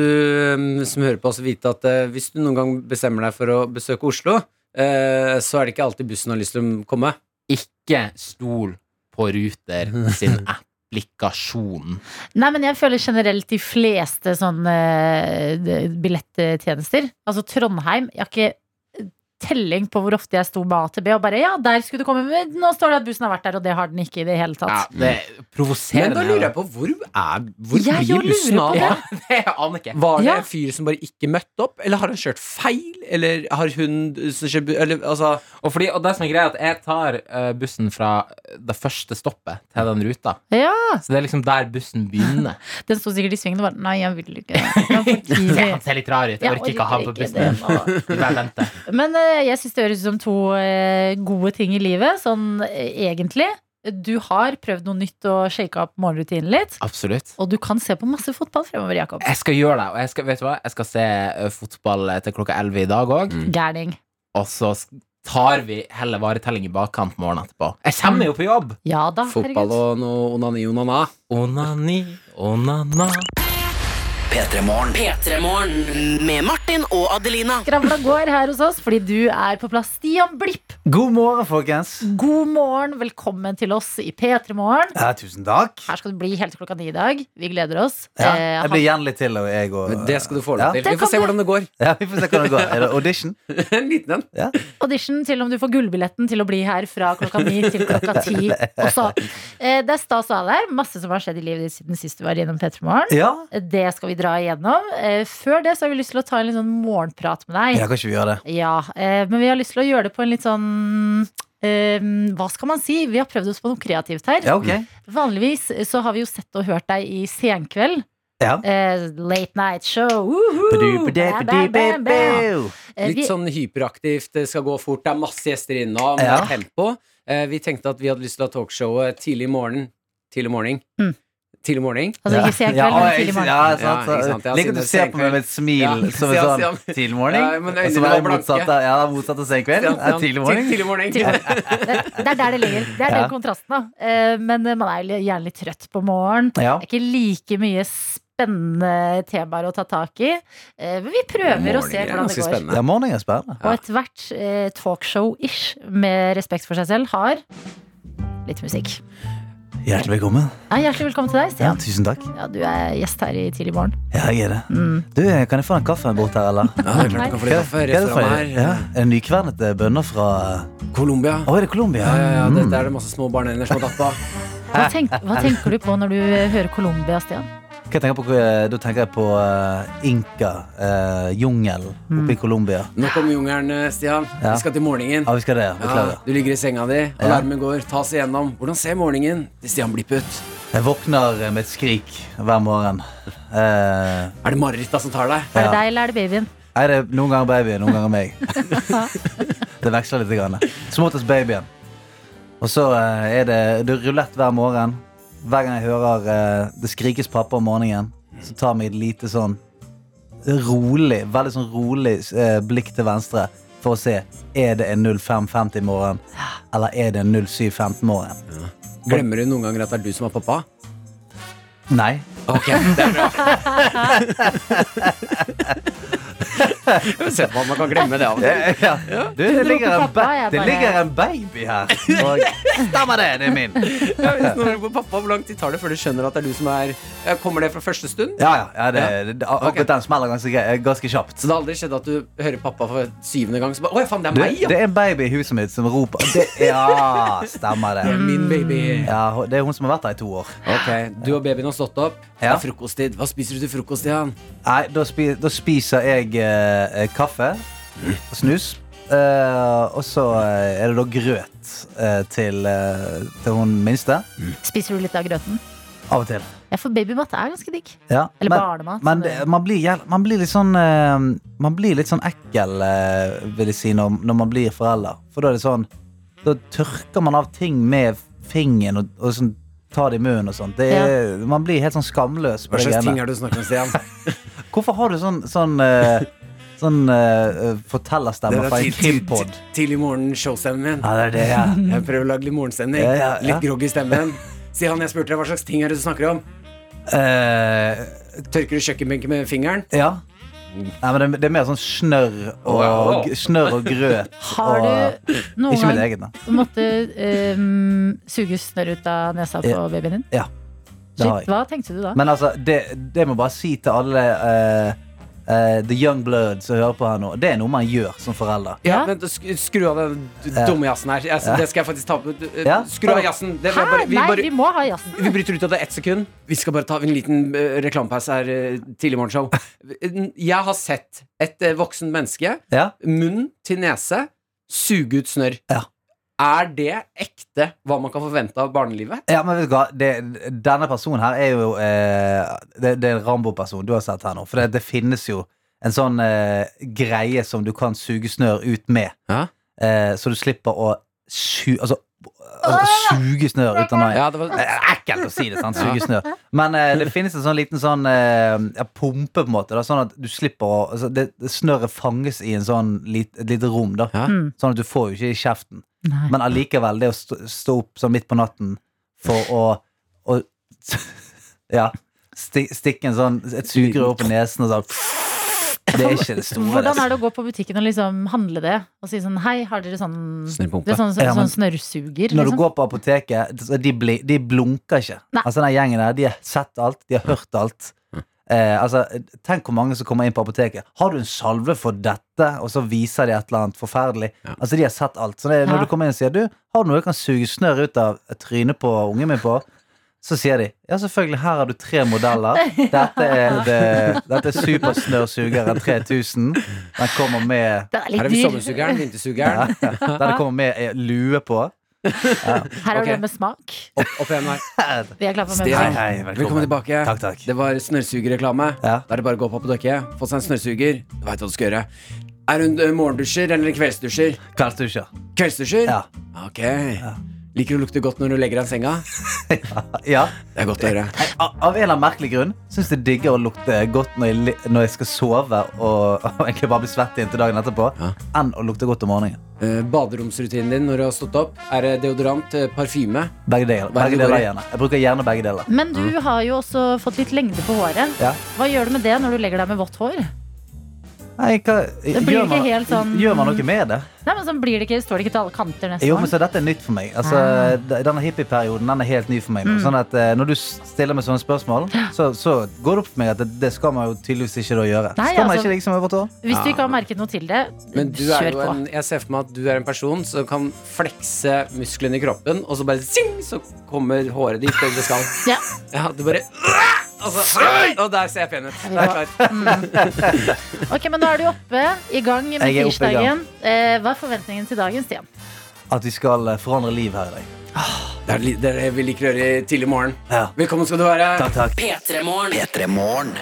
B: eh, som hører på oss vite at eh, hvis du noen gang bestemmer deg for å besøke Oslo, eh, så er det ikke alltid bussen har lyst til å komme.
E: Ikke stol på Ruter sin applikasjon.
C: Nei, men jeg føler generelt de fleste sånne eh, d- billettjenester. Altså Trondheim. Jeg har ikke eh, telling på hvor ofte jeg sto med AtB og bare Ja, der skulle du komme, men nå står det at bussen har vært der, og det har den ikke i det hele
E: Ja,
C: tatt.
E: det provoserer
B: Men da lurer jeg på, hvor, er, hvor
C: Jeg jo
B: blir bussen
C: lurer på
B: av?
E: Ja,
B: da?
E: det aner ikke.
B: Var det
C: Ja.
B: en fyr som bare ikke møtte opp, eller har han kjørt feil, eller har hun som kjører bu- Eller altså
E: Og, fordi, og det som er greia, er at jeg tar eh, bussen fra eh, det første stoppet til den ruta.
C: Ja!
E: Så det er liksom der bussen begynner.
C: Den sto sikkert i svingen og bare Nei, jeg vil ikke. Det var for tidlig.
E: Han ser litt rar ut. Jeg
C: Ja,
E: orker ikke å ha
C: orker
E: han på
C: ikke
E: bussen.
C: det
E: Vi bare venter.
C: Men eh, jeg syns det høres ut som to eh, gode ting i livet, sånn eh, egentlig. Du har prøvd noe nytt og shaka opp morgenrutinen litt.
E: Absolutt.
C: Og du kan se på masse fotball fremover, Jakob.
E: Jeg skal gjøre det. Og jeg skal, vet du hva? Jeg skal se eh, fotball eh, til klokka 11 i dag òg.
C: Gærning.
E: Og så sk- tar vi heller varetelling i bakkant morgenen etterpå. Jeg kommer jo på jobb!
C: Ja da,
B: Fotball
C: herregud.
B: og noe onani onana.
E: Onani, onana.
D: P3morgen. Med Martin og Adelina.
C: Skravla går her hos oss fordi du er på plass. Stian Blipp,
F: God morgen, folkens.
C: god morgen. Velkommen til oss i P3 Morgen.
F: Ja, tusen takk.
C: Her skal du bli helt til klokka ni i dag. Vi gleder oss.
F: Ja,
C: Eh,
F: jeg
C: han-
F: blir gjerne litt til, og jeg og
B: Men Det skal du få
F: ja.
B: lov til. Vi
C: Det
B: får se
C: kan du-
B: hvordan det går.
F: Ja, vi får se hvordan det går. Er det audition?
B: En liten en.
C: audition til om du får gullbilletten til å bli her fra klokka ni til klokka ti også. Eh, Det er stas å ha deg her. Masse som har skjedd i livet ditt siden sist du var gjennom P3 Morgen.
F: Ja.
C: Det skal vi dra igjennom. Eh, Før det så har vi lyst til å ta en litt sånn morgenprat med deg.
F: ja, kan ikke vi gjøre det?
C: Ja, eh, men vi har lyst til å gjøre det på en litt sånn eh, hva skal man si? Vi har prøvd oss på noe kreativt her.
F: Ja, ok.
C: Vanligvis eh, så har vi jo sett og hørt deg i senkveld.
F: Ja.
C: Eh, late night show. Uhu! Bam, bam, bam, bam. Eh, vi-
B: Litt sånn hyperaktivt, det skal gå fort, det er masse gjester innom, det
F: Ja.
B: er tempo. Eh, Vi tenkte at vi hadde lyst til å ha talkshowet tidlig i morgen. Tidlig morgen.
C: Mm.
B: Tidlig morgen.
C: Altså ikke senkveld,
F: ja,
C: men
F: jeg-
C: tidlig morgen.
F: Ja, sant,
B: Ja, ikke sant, ja,
F: så-
B: siden
F: Liker at du
B: det er
F: ser på meg
B: senkveld.
F: med et smil
B: Ja,
F: som en
B: ja,
F: sånn
B: Stian.
F: tidlig morning.
B: Ja, Eh, men øynene
F: og så
B: var
F: er det
B: blanke.
F: motsatt av, ja, det er motsatt av senkveld. Ja, tidlig morning.
B: Tidlig morgen.
C: Det, det er der det ligger. Det er
F: Ja.
C: den kontrasten, da. Eh, men eh, man er jo gjerne litt trøtt på morgenen.
F: Ja.
C: Det er ikke like mye spennende temaer å ta tak i. Eh, men vi prøver å se
B: Morgener er
C: hvordan det
B: ganske
C: går.
B: spennende.
F: ja, morning er spennende.
C: Og ethvert eh, talkshow-ish med respekt for seg selv har litt musikk.
F: Hjertelig velkommen.
C: Ja, hjertelig velkommen til deg,
F: Ja,
C: Stian.
F: tusen takk.
C: Ja, du er gjest her i Tidlig morgen.
F: Ja, jeg er det. Du, eh, kan jeg få den kaffen bort her, eller?
B: Ja, det er klart du kan få litt kaffe
F: Hva er
B: rett
F: det for-
B: fram her.
F: Ja, er det nykvernet bønner fra
B: Colombia.
F: Å, er det Colombia? Mm.
B: Ja, ja, ja, dette er det masse små barnehender som har tatt på.
C: Hva, tenk, hva tenker du på når du eh, hører Colombia, Stian?
F: Hva jeg tenker på, eh, da tenker jeg på eh, Inka, eh, jungel oppe i Colombia.
B: Nå kommer jungelen, eh, Stian.
F: Ja.
B: Vi skal til morgenen.
F: Ja, vi skal det.
B: Ja,
F: Beklager.
B: du ligger i senga di, alarmen går, ta oss igjennom. Hvordan ser morgenen til Stian Blipp ut?
F: Jeg våkner eh, med et skrik hver morgen. Eh,
B: Er det marerittet som tar deg?
C: Er det
F: Ja.
C: deg, eller er det babyen?
F: Nei, det er noen ganger babyen, noen ganger meg. det veksler litt. Grann. Småttes babyen. Og så eh, er det, det er rulett hver morgen. Hver gang jeg hører eh, det skrikes pappa om morgenen, så tar meg et lite sånn rolig, veldig sånn rolig eh, blikk til venstre for å se er det en 05.50 i morgen, eller er det en 07.15 i morgen.
B: Glemmer du noen ganger at det er du som er pappa?
F: Nei.
B: Ok, det er bra. Jeg vil se på om man kan glemme det av og til.
F: Ja. Du, det
C: roper
F: ligger, en
C: pappa,
F: ba-
C: jeg
F: det
C: bare-
F: ligger en baby her. Og stemmer det, det er min.
B: Ja, hvis noen roper pappa, Hvor lang tid tar det før du skjønner at det er du som er Ja, Kommer det fra første stund?
F: Ja, ja, ja, det, det, det, akkurat
B: Ok.
F: den smeller ganske, gre- eh, ganske kjapt.
B: Så det har aldri skjedd at du hører pappa for syvende gang? Så bare, Å, faen, det er
F: Du,
B: meg, ja!
F: Det er en baby i huset mitt som roper. Det, ja, stemmer
B: Det er
F: det.
B: min baby.
F: Ja, hun- det er hun som har vært her i to år.
B: Ok, Du og babyen har stått opp. Det
F: Ja.
B: er frokosttid. Hva spiser du til frokost, Stian?
F: Nei, da, spi, da spiser jeg eh, eh, kaffe og snus. Eh, og så eh, er det da grøt eh, til, eh, til hun minste.
C: Spiser du litt av grøten?
F: Av og til.
C: Ja, for babymat er ganske digg.
F: Ja.
C: Eller
F: men-
C: barnemat.
F: Men
C: som det-
F: det, man, blir, jæv- man blir litt sånn eh, Man blir litt sånn ekkel, eh, vil jeg si, når, når man blir forelder. For da er det sånn Da tørker man av ting med fingeren og, og sånn tar det i munnen og sånt. Det er, Man blir helt sånn skamløs. på
B: Hva
F: det
B: slags ting
F: greiene.
B: er det du snakker om, Stian?
F: Hvorfor har du sånn sånn, eh, sånn eh, fortellerstemme fra en Kimpod?
B: tidlig morgen showstemmen min.
F: Ja, det er det, ja.
B: Jeg prøver å lage litt morgenstemning.
F: Ja, ja, ja.
B: Litt grogg i stemmen. Stian, jeg spurte deg hva slags ting er det du snakker om.
F: Eh,
B: Tørker du kjøkkenbenken med fingeren?
F: ja.
B: Oh.
F: Nei, men det, det er mer sånn snørr og,
B: Wow.
F: snørr og grøt.
C: Har
F: og,
C: du noen
F: Ikke mitt
C: gang
F: eget, da.
C: måtte um, suge snørr ut av nesa på
F: Ja.
C: babyen din?
F: Ja. Det har jeg.
C: Shit, hva tenkte du da?
F: Men altså, det, det må jeg bare si til alle eh, eh, The Young Blood som hører på her nå. Det er noe man gjør som forelder.
B: Ja,
C: Ja.
B: men da sk- Skru av den d- dumme jazzen her. Jeg, det skal jeg faktisk ta på. Du- eh,
F: Ja.
B: Skru av jazzen. Det,
C: Hæ?
B: var bare, vi,
C: Nei,
B: bare,
C: vi må ha jazzen.
B: vi bryter ut av det ett sekund. Vi skal bare ta en liten eh, reklamepause her. eh, tidlig morgenshow. Jeg har sett et eh, voksen menneske,
F: Ja.
B: munn til nese, suge ut snørr.
F: Ja.
B: Er det ekte hva man kan forvente av barnelivet?
F: Ja, men vet du hva? Det, denne personen her er jo eh, det, det er en Rambo-person du har sett her nå. For det, det finnes jo en sånn eh, greie som du kan suge snørr ut med.
B: Ja.
F: Eh, så du slipper å su, altså, altså, suge snørr ut av meg.
B: Ja, det var
F: Det er ekkelt å si det, sant? Suge snørr. Men eh, det finnes en sånn liten sånn eh, ja, pumpe, på en måte. Da, sånn at du slipper å altså, det, det Snørret fanges i en sånn lit, et lite rom, da.
B: Ja.
C: Mm.
F: Sånn at du får jo ikke i kjeften.
C: Nei.
F: Men allikevel, det å stå, stå opp sånn midt på natten for å, å Ja. Sti, stikke en sånn, et sugerør opp i nesen og sånn Det er ikke det store.
C: Hvordan
F: det,
C: er det å gå på butikken og liksom handle det? Og si sånn hei, har dere sånn
B: Snørrpumpe.
C: det er sånn, sånn,
F: Ja, men-
C: sånn snørrsuger?
F: Når du
C: Liksom?
F: går på apoteket, så de, bli, de blunker ikke.
C: Nei.
F: Altså Den gjengen der, de har sett alt, de har hørt alt. Eh, altså, tenk hvor mange som kommer inn på apoteket. 'Har du en salve for dette?' Og så viser de et eller annet forferdelig. Altså De har sett alt. Så det, er- når
C: Ja.
F: du kommer inn og sier 'Du, har du noe jeg kan suge snørr ut av trynet på ungen min på?' Så sier de 'Ja, selvfølgelig. Her har du tre modeller. Dette er, det, dette er supersnørrsugeren 3000. Den kommer med
C: Den er
B: Her
C: litt
B: er vi
C: dyr.
B: sommersugeren, vintersugeren.
F: Der det kommer med eh, lue på.
C: Her har
B: Ok.
C: du den med smak.
B: Opp, opp igjen her.
C: Vi er klare for
B: Stian.
F: Hei,
C: med
F: hei,
B: Velkommen tilbake.
F: Takk, takk.
B: Det var snørrsugerreklame.
F: Ja.
B: Da er det bare å gå på apoteket, få seg en snørrsuger. Du veit hva du skal gjøre. Er hun eh, morgendusjer eller kveldsdusjer?
F: Kveldsdusjer.
B: Kveldsdusjer?
F: Ja.
B: Ok. Liker du å lukte godt når du legger deg i senga?
F: Ja.
B: Det er godt å høre.
F: Nei, Av av en eller annen merkelig grunn syns jeg digger å lukte godt når jeg, li- når jeg skal sove og, og egentlig bare bli svett inntil dagen etterpå,
B: Ja.
F: enn å lukte godt om morgenen.
B: Eh, Baderomsrutinen din når du har stått opp, er det deodorant, eh, parfyme?
F: Begge deler.
B: Hva er det
F: Begge
B: du går
F: deler
B: i?
F: gjerne. Jeg bruker gjerne begge deler.
C: Men du
B: Mm.
C: har jo også fått litt lengde på håret.
F: Ja.
C: Hva gjør du med det når du legger deg med vått hår?
F: Nei, hva,
C: blir
F: gjør,
C: ikke
F: man,
C: helt sånn-
F: gjør man noe med det?
C: Nei, men sånn blir det ikke, Står det ikke til alle kanter neste
F: Jo, men
C: år?
F: så Dette er nytt for meg. Altså,
C: Ah.
F: d- Denne hippieperioden den er helt ny for meg.
C: Mm.
F: nå. Sånn at eh, Når du s- stiller meg sånne spørsmål, så, så går det opp for meg at det, det skal man jo tydeligvis ikke da gjøre.
C: Nei,
F: skal man
C: altså-
F: ikke liksom over tå?
C: Hvis du ikke har merket noe til det,
B: Men du er
C: kjør
B: jo
C: på.
B: en, jeg ser for meg at du er en person som kan flekse musklene i kroppen, og så bare zing, så kommer håret ditt, og det skal.
C: Ja.
B: Ja, du bare altså, og der ser jeg pen ut. Det er klart.
C: Ok, men nå er du oppe i gang med
F: Jeg er oppe i gang.
C: tirsdagen. Eh, hva er forventningen til dagen, Stian?
F: At vi skal eh, forandre liv her i dag.
B: Det er li- det er det vi liker å gjøre i tidlig morgen.
F: Ja.
B: Velkommen skal du være.
F: Takk, takk.
D: P3morgen.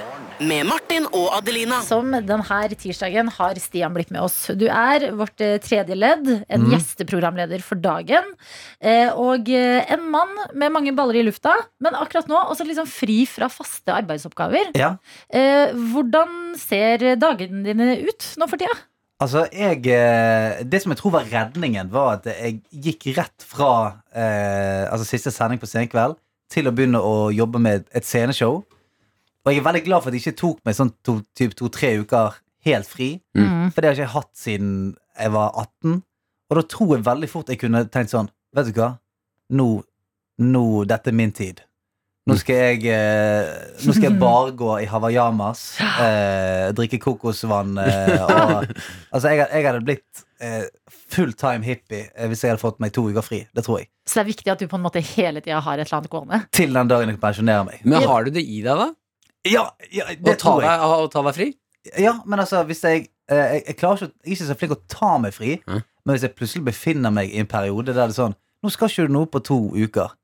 D: Med Martin og Adelina.
C: Som denne tirsdagen har Stian blitt med oss. Du er vårt eh, tredje ledd,
F: Mm.
C: en gjesteprogramleder for dagen. eh, Og eh, en mann med mange baller i lufta, men akkurat nå også liksom fri fra faste arbeidsoppgaver.
F: Ja.
C: Eh, Hvordan ser dagene dine ut nå for tida?
F: Altså, jeg, eh, det som jeg tror var redningen, var at jeg gikk rett fra eh, altså, siste sending på Senkveld til å begynne å jobbe med et sceneshow. Og jeg er veldig glad for at det ikke tok meg sånn to, typ to-tre uker helt fri.
C: Mm.
F: For det har ikke jeg hatt siden jeg var 18. Og da tror jeg veldig fort jeg kunne tenkt sånn Vet du hva? Nå, nå Dette er min tid. Nå skal jeg, eh, nå skal jeg bare gå i hawaiiamas, eh, drikke kokosvann eh, og Altså, jeg, jeg hadde blitt eh, full time hippie eh, hvis jeg hadde fått meg to uker fri. Det tror jeg.
C: Så det er viktig at du på en måte hele tida har et eller annet gående.
F: Til den dagen jeg pensjonerer meg.
B: Men har du det i deg, da?
F: Ja, ja
B: Å ta deg, å ta deg fri?
F: Ja, men altså, hvis jeg eh, jeg, jeg, klarer ikke, jeg er ikke så flink å ta meg fri,
B: Mm.
F: men hvis jeg plutselig befinner meg i en periode der det er sånn Nå skal ikke du noe på to uker.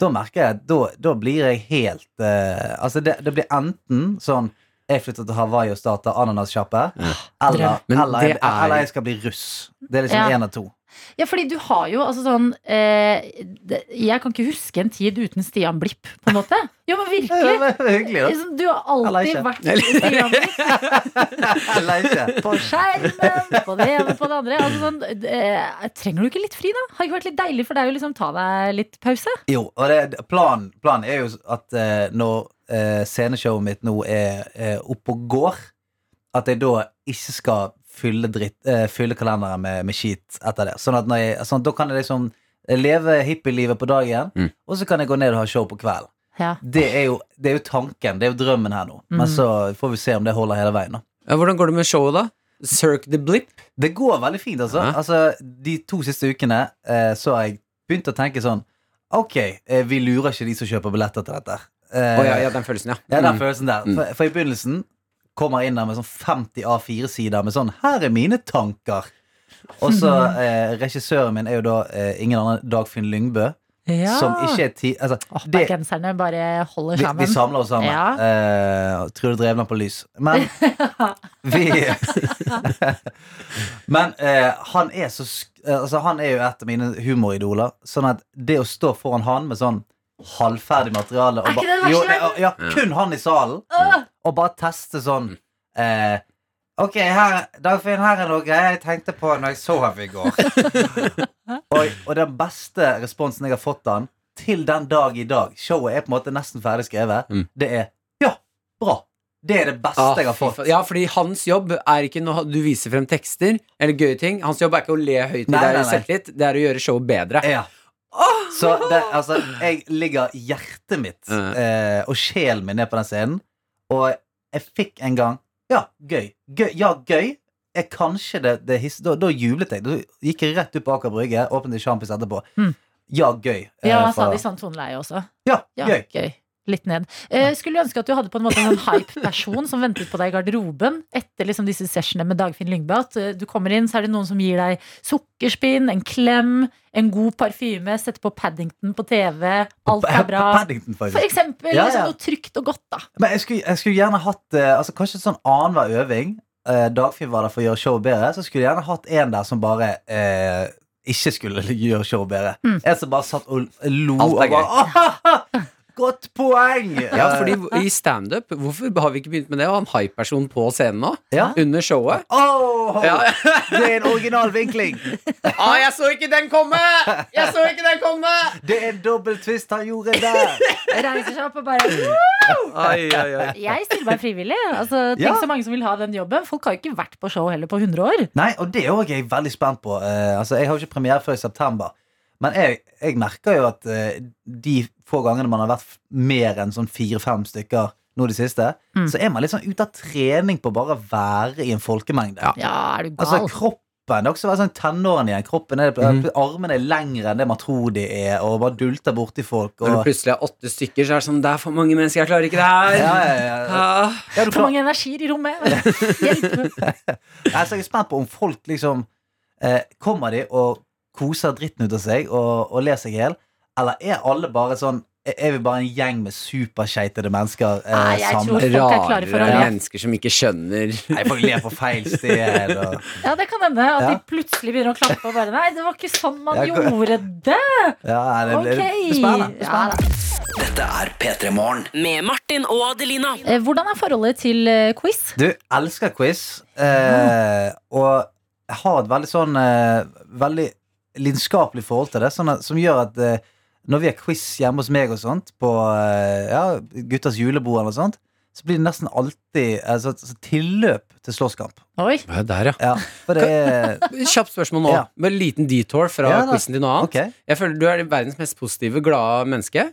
F: Da merker jeg at da, da blir jeg helt eh, Altså, det, det blir enten sånn jeg flytter til Hawaii og starter ananassjappe. Eller,
B: Men
F: eller, jeg-
B: det er-
F: eller jeg skal bli russ. Det er liksom
C: Ja.
F: én av to.
C: Ja, fordi du har jo altså sånn eh, det, Jeg kan ikke huske en tid uten Stian Blipp, på en måte. Jo, men
F: Det er
C: virkelig.
F: hyggelig, da.
C: Liksom, Du har
F: Eller
C: alltid
F: ikke.
C: vært Stian Blipp.
F: Eller ikke.
C: På skjermen, på det ene, på det andre. Altså sånn, eh, trenger du ikke litt fri, da? Har ikke vært litt deilig for deg å liksom ta deg litt pause?
F: Jo, og det, planen, planen er jo at eh, når eh, sceneshowet mitt nå er eh, oppe og går, at jeg da ikke skal fylle, dritt, eh, fylle kalenderen med, med skit etter det. Sånn at når jeg, sånn, da kan jeg liksom leve hippielivet på dagen,
B: Mm.
F: og så kan jeg gå ned og ha show på kvelden.
C: Ja.
F: Det er, jo, det er jo tanken, det er jo drømmen her nå. Men så får vi se om det holder hele veien. Da.
B: Ja, Hvordan går det med showet, da? Cirque the Blip?
F: Det går veldig fint, altså.
B: Ja.
F: altså de to siste ukene eh, så har jeg begynt å tenke sånn Ok, eh, vi lurer ikke de som kjøper billetter til dette. her. Eh,
B: Å ja, ja, den følelsen, ja.
F: Ja, den
B: Mm.
F: følelsen der.
B: Mm.
F: For, for i begynnelsen kommer jeg inn der med sånn 50 A4-sider med sånn 'Her er mine tanker'. Og så eh, regissøren min er jo da eh, ingen annen Dagfinn Lyngbø,
C: Ja.
F: som ikke er ti... Altså,
C: Åh,
F: det,
C: Bergenserne bare holder
F: vi, vi
C: sammen.
F: samler oss sammen.
C: Ja.
F: Eh, og Trude Drevland på lys. Men vi Men eh, han er så sk- eh, Altså, han er jo et av mine humoridoler. Sånn at det å stå foran han med sånn halvferdig materiale og
C: Er ikke
F: ba-
C: det det
F: jo,
C: verste i verden?
F: ja, kun han i salen,
C: Åh!
F: og bare teste sånn eh, Ok, her, Dagfinn, her er noe jeg tenkte på når jeg så ham i går. og, og den beste responsen jeg har fått av han til den dag i dag Showet er på en måte nesten ferdig skrevet.
B: Mm.
F: Det er Ja, bra. Det er det beste
B: Ah,
F: jeg har
B: fy
F: fått.
B: faen. Ja, fordi hans jobb er ikke når du viser frem tekster eller gøye ting. Hans jobb er ikke å le høyt i
F: Nei, nei,
B: deg
F: nei.
B: selvtillit, det er å gjøre showet bedre.
F: Ja. Så det, altså, jeg ligger hjertet mitt
B: Mm.
F: eh, og sjelen min ned på den scenen, og jeg fikk en gang Ja, gøy. gøy ja, gøy. Er kanskje det, det his, da, da jublet jeg. Da gikk jeg rett ut på Aker Brygge, åpnet en sjampis etterpå.
C: Mm.
F: Ja, gøy. eh,
C: Ja,
F: fra-
C: sa de sånn toneleie også.
F: ja,
C: Ja,
F: gøy.
C: gøy. Litt ned. Eh, skulle ønske at du hadde på en måte en sånn hype-person som ventet på deg i garderoben etter liksom disse sessionene med Dagfinn Lyngbø. At eh, du kommer inn, så er det noen som gir deg sukkerspinn, en klem, en god parfyme, setter på Paddington på TV, alt er bra.
F: Paddington, faktisk.
C: For eksempel
F: Ja, ja.
C: Liksom noe trygt og godt, da.
F: Men jeg skulle, jeg skulle gjerne hatt eh, altså, Kanskje en sånn annenhver øving. Eh, Dagfinn var der for å gjøre showet bedre. Så skulle jeg gjerne hatt en der som bare eh, ikke skulle gjøre showet bedre.
C: Mm.
F: En som bare satt og lo
B: Alt
F: og
B: er
F: bare «Ahaha, Godt poeng! Eh,
B: Ja, fordi I standup, hvorfor har vi ikke begynt med det? Å ha en hype-person på scenen nå?
F: Ja.
B: Under showet?
F: Åh,
B: Ja.
F: oh, Det er en original vinkling!
B: ah, jeg så ikke den komme! Jeg så ikke den komme!
F: Det er en dobbel twist han gjorde der!
C: Reiser seg opp og bare
B: Ai, ai, ai.
C: Jeg stiller meg frivillig. Altså, tenk
F: Ja.
C: så mange som vil ha den jobben. Folk har jo ikke vært på show heller på 100 år.
F: Nei, og det er også jeg veldig spent på. Eh, altså, jeg har jo ikke premiere før i september. Men jeg, jeg merker jo at eh, de få gangene man har vært f- mer enn sånn fire-fem stykker nå de siste,
C: Mm.
F: så er man litt sånn ute av trening på bare å være i en folkemengde.
C: Ja, er du
F: Altså,
C: gal?
F: kroppen kroppen. Det er også å være sånn tenåren igjen. Kroppen er, eh,
E: Mhm.
F: Armene er lengre enn det man tror de er, og bare dulter borti folk.
B: Når du
F: Og,
B: plutselig har åtte stykker, så er det sånn Det er for mange mennesker, jeg klarer ikke det her.
F: ja, ja, ja.
B: Ah.
F: ja, du
C: For
F: klarer
C: mange energier i rommet. Hjelp!
F: Nei, så jeg er spent på om folk liksom eh, Kommer de og koser dritten ut av seg og, og ler seg i hjel, eller er alle bare sånn er- Er vi bare en gjeng med superskeitede mennesker eh,
C: Nei, jeg tror-
F: sammen?
C: Folk er klare for å
B: Rarere
C: le.
B: mennesker som ikke skjønner
F: Nei, folk ler på feil sted. Og,
C: Ja, det kan hende at
F: Ja.
C: de plutselig begynner å klappe og bare Nei, det var ikke sånn man
F: Jeg kan-
C: gjorde det!
F: ja, nei, det,
C: Ok!
F: det, det er spennende. Det er
C: Ja,
F: spennende.
C: da.
D: Dette er P3 Morgen. Med Martin og Adelina.
C: Eh, Hvordan er forholdet til eh, quiz?
F: Du, elsker quiz, eh, og jeg har et veldig sånn eh, Veldig lidenskapelig forhold til det, sånn at, som gjør at eh, når vi har quiz hjemme hos meg og sånt, på eh, ja, guttas julebord eller noe sånt, så blir det nesten alltid eh, så, så tilløp til slåsskamp.
C: Oi.
B: Der,
F: Ja, for det er
B: Kjapt spørsmål nå.
F: Ja.
B: Med en liten detour fra
F: Ja, da.
B: quizen til noe annet.
F: Ok.
B: Jeg føler Du er verdens mest positive, glade menneske.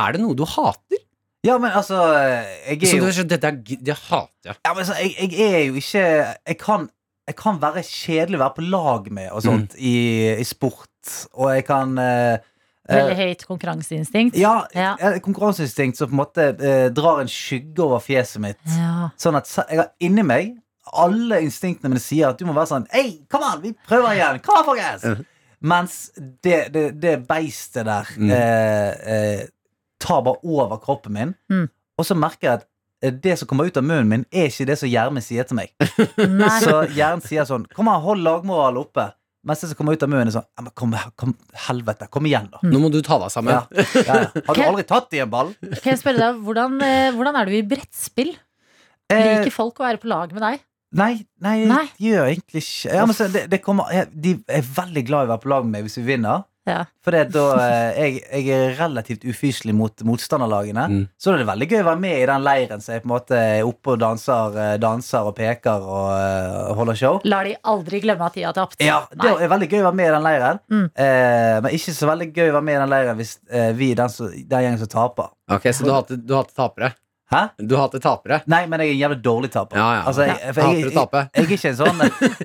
B: Er det noe du hater?
F: Ja, men altså eh, Jeg
B: Som
F: er
B: du
F: jo,
B: er så, Dette er, g- det hater jeg.
F: ja, men, så, jeg, jeg er jo ikke jeg kan, jeg kan være kjedelig å være på lag med og
B: Mm.
F: sånt i, i sport, og jeg kan eh, eh,
C: Veldig høyt konkurranseinstinkt.
F: Ja,
C: Ja.
F: eh, konkurranseinstinkt som på en måte eh, drar en skygge over fjeset mitt.
C: Ja.
F: Sånn at se- jeg har inni meg alle instinktene mine sier at du må være sånn Hei, kom an, vi prøver igjen! Kom an, folkens! Mens det, det, det beistet der
B: Mm.
F: eh, eh, tar bare over kroppen min,
C: Mm.
F: og så merker jeg at eh, det som kommer ut av munnen min, er ikke det som hjernen sier til meg.
C: Nei.
F: Så hjernen sier sånn Kom an, hold lagmoralen oppe. Mens det som kommer ut av munnen, er sånn «Ja, men kom, kom, helvete, kom igjen, da.
B: Nå må du ta deg sammen.
F: Ja, ja, ja. Har du
C: Hvem-
F: aldri tatt i en ball?
C: Kan jeg spørre deg, hvordan, eh, hvordan er du i brettspill?
F: Eh,
C: Liker folk å være på lag med deg?
F: Nei, nei,
C: Nei.
F: det gjør jeg egentlig ikke ja, men så, det, det kommer, jeg, De er veldig glad i å være på lag med meg hvis vi vinner.
C: Ja.
F: For det, da, eh, jeg, jeg er relativt ufyselig mot motstanderlagene.
B: Mm.
F: Så da er det veldig gøy å være med i den leiren som jeg på en måte er oppe og danser, eh, danser og peker og eh, holder show.
C: Lar de aldri glemme at de har tapt?
F: Ja, Det
C: Nei.
F: er veldig gøy å være med i den leiren,
C: Mm.
F: eh, men ikke så veldig gøy å være med i den leiren hvis eh, vi er den, som- den gjengen som taper.
B: Ok, Så du hater, du hater tapere?
F: Hæ?
B: Du hater tapere?
F: Nei, men jeg er en jævlig dårlig taper.
B: Ja, ja.
F: Altså, jeg, for jeg,
B: Hater å
F: jeg, jeg,
B: tape?
F: jeg er ikke en sånn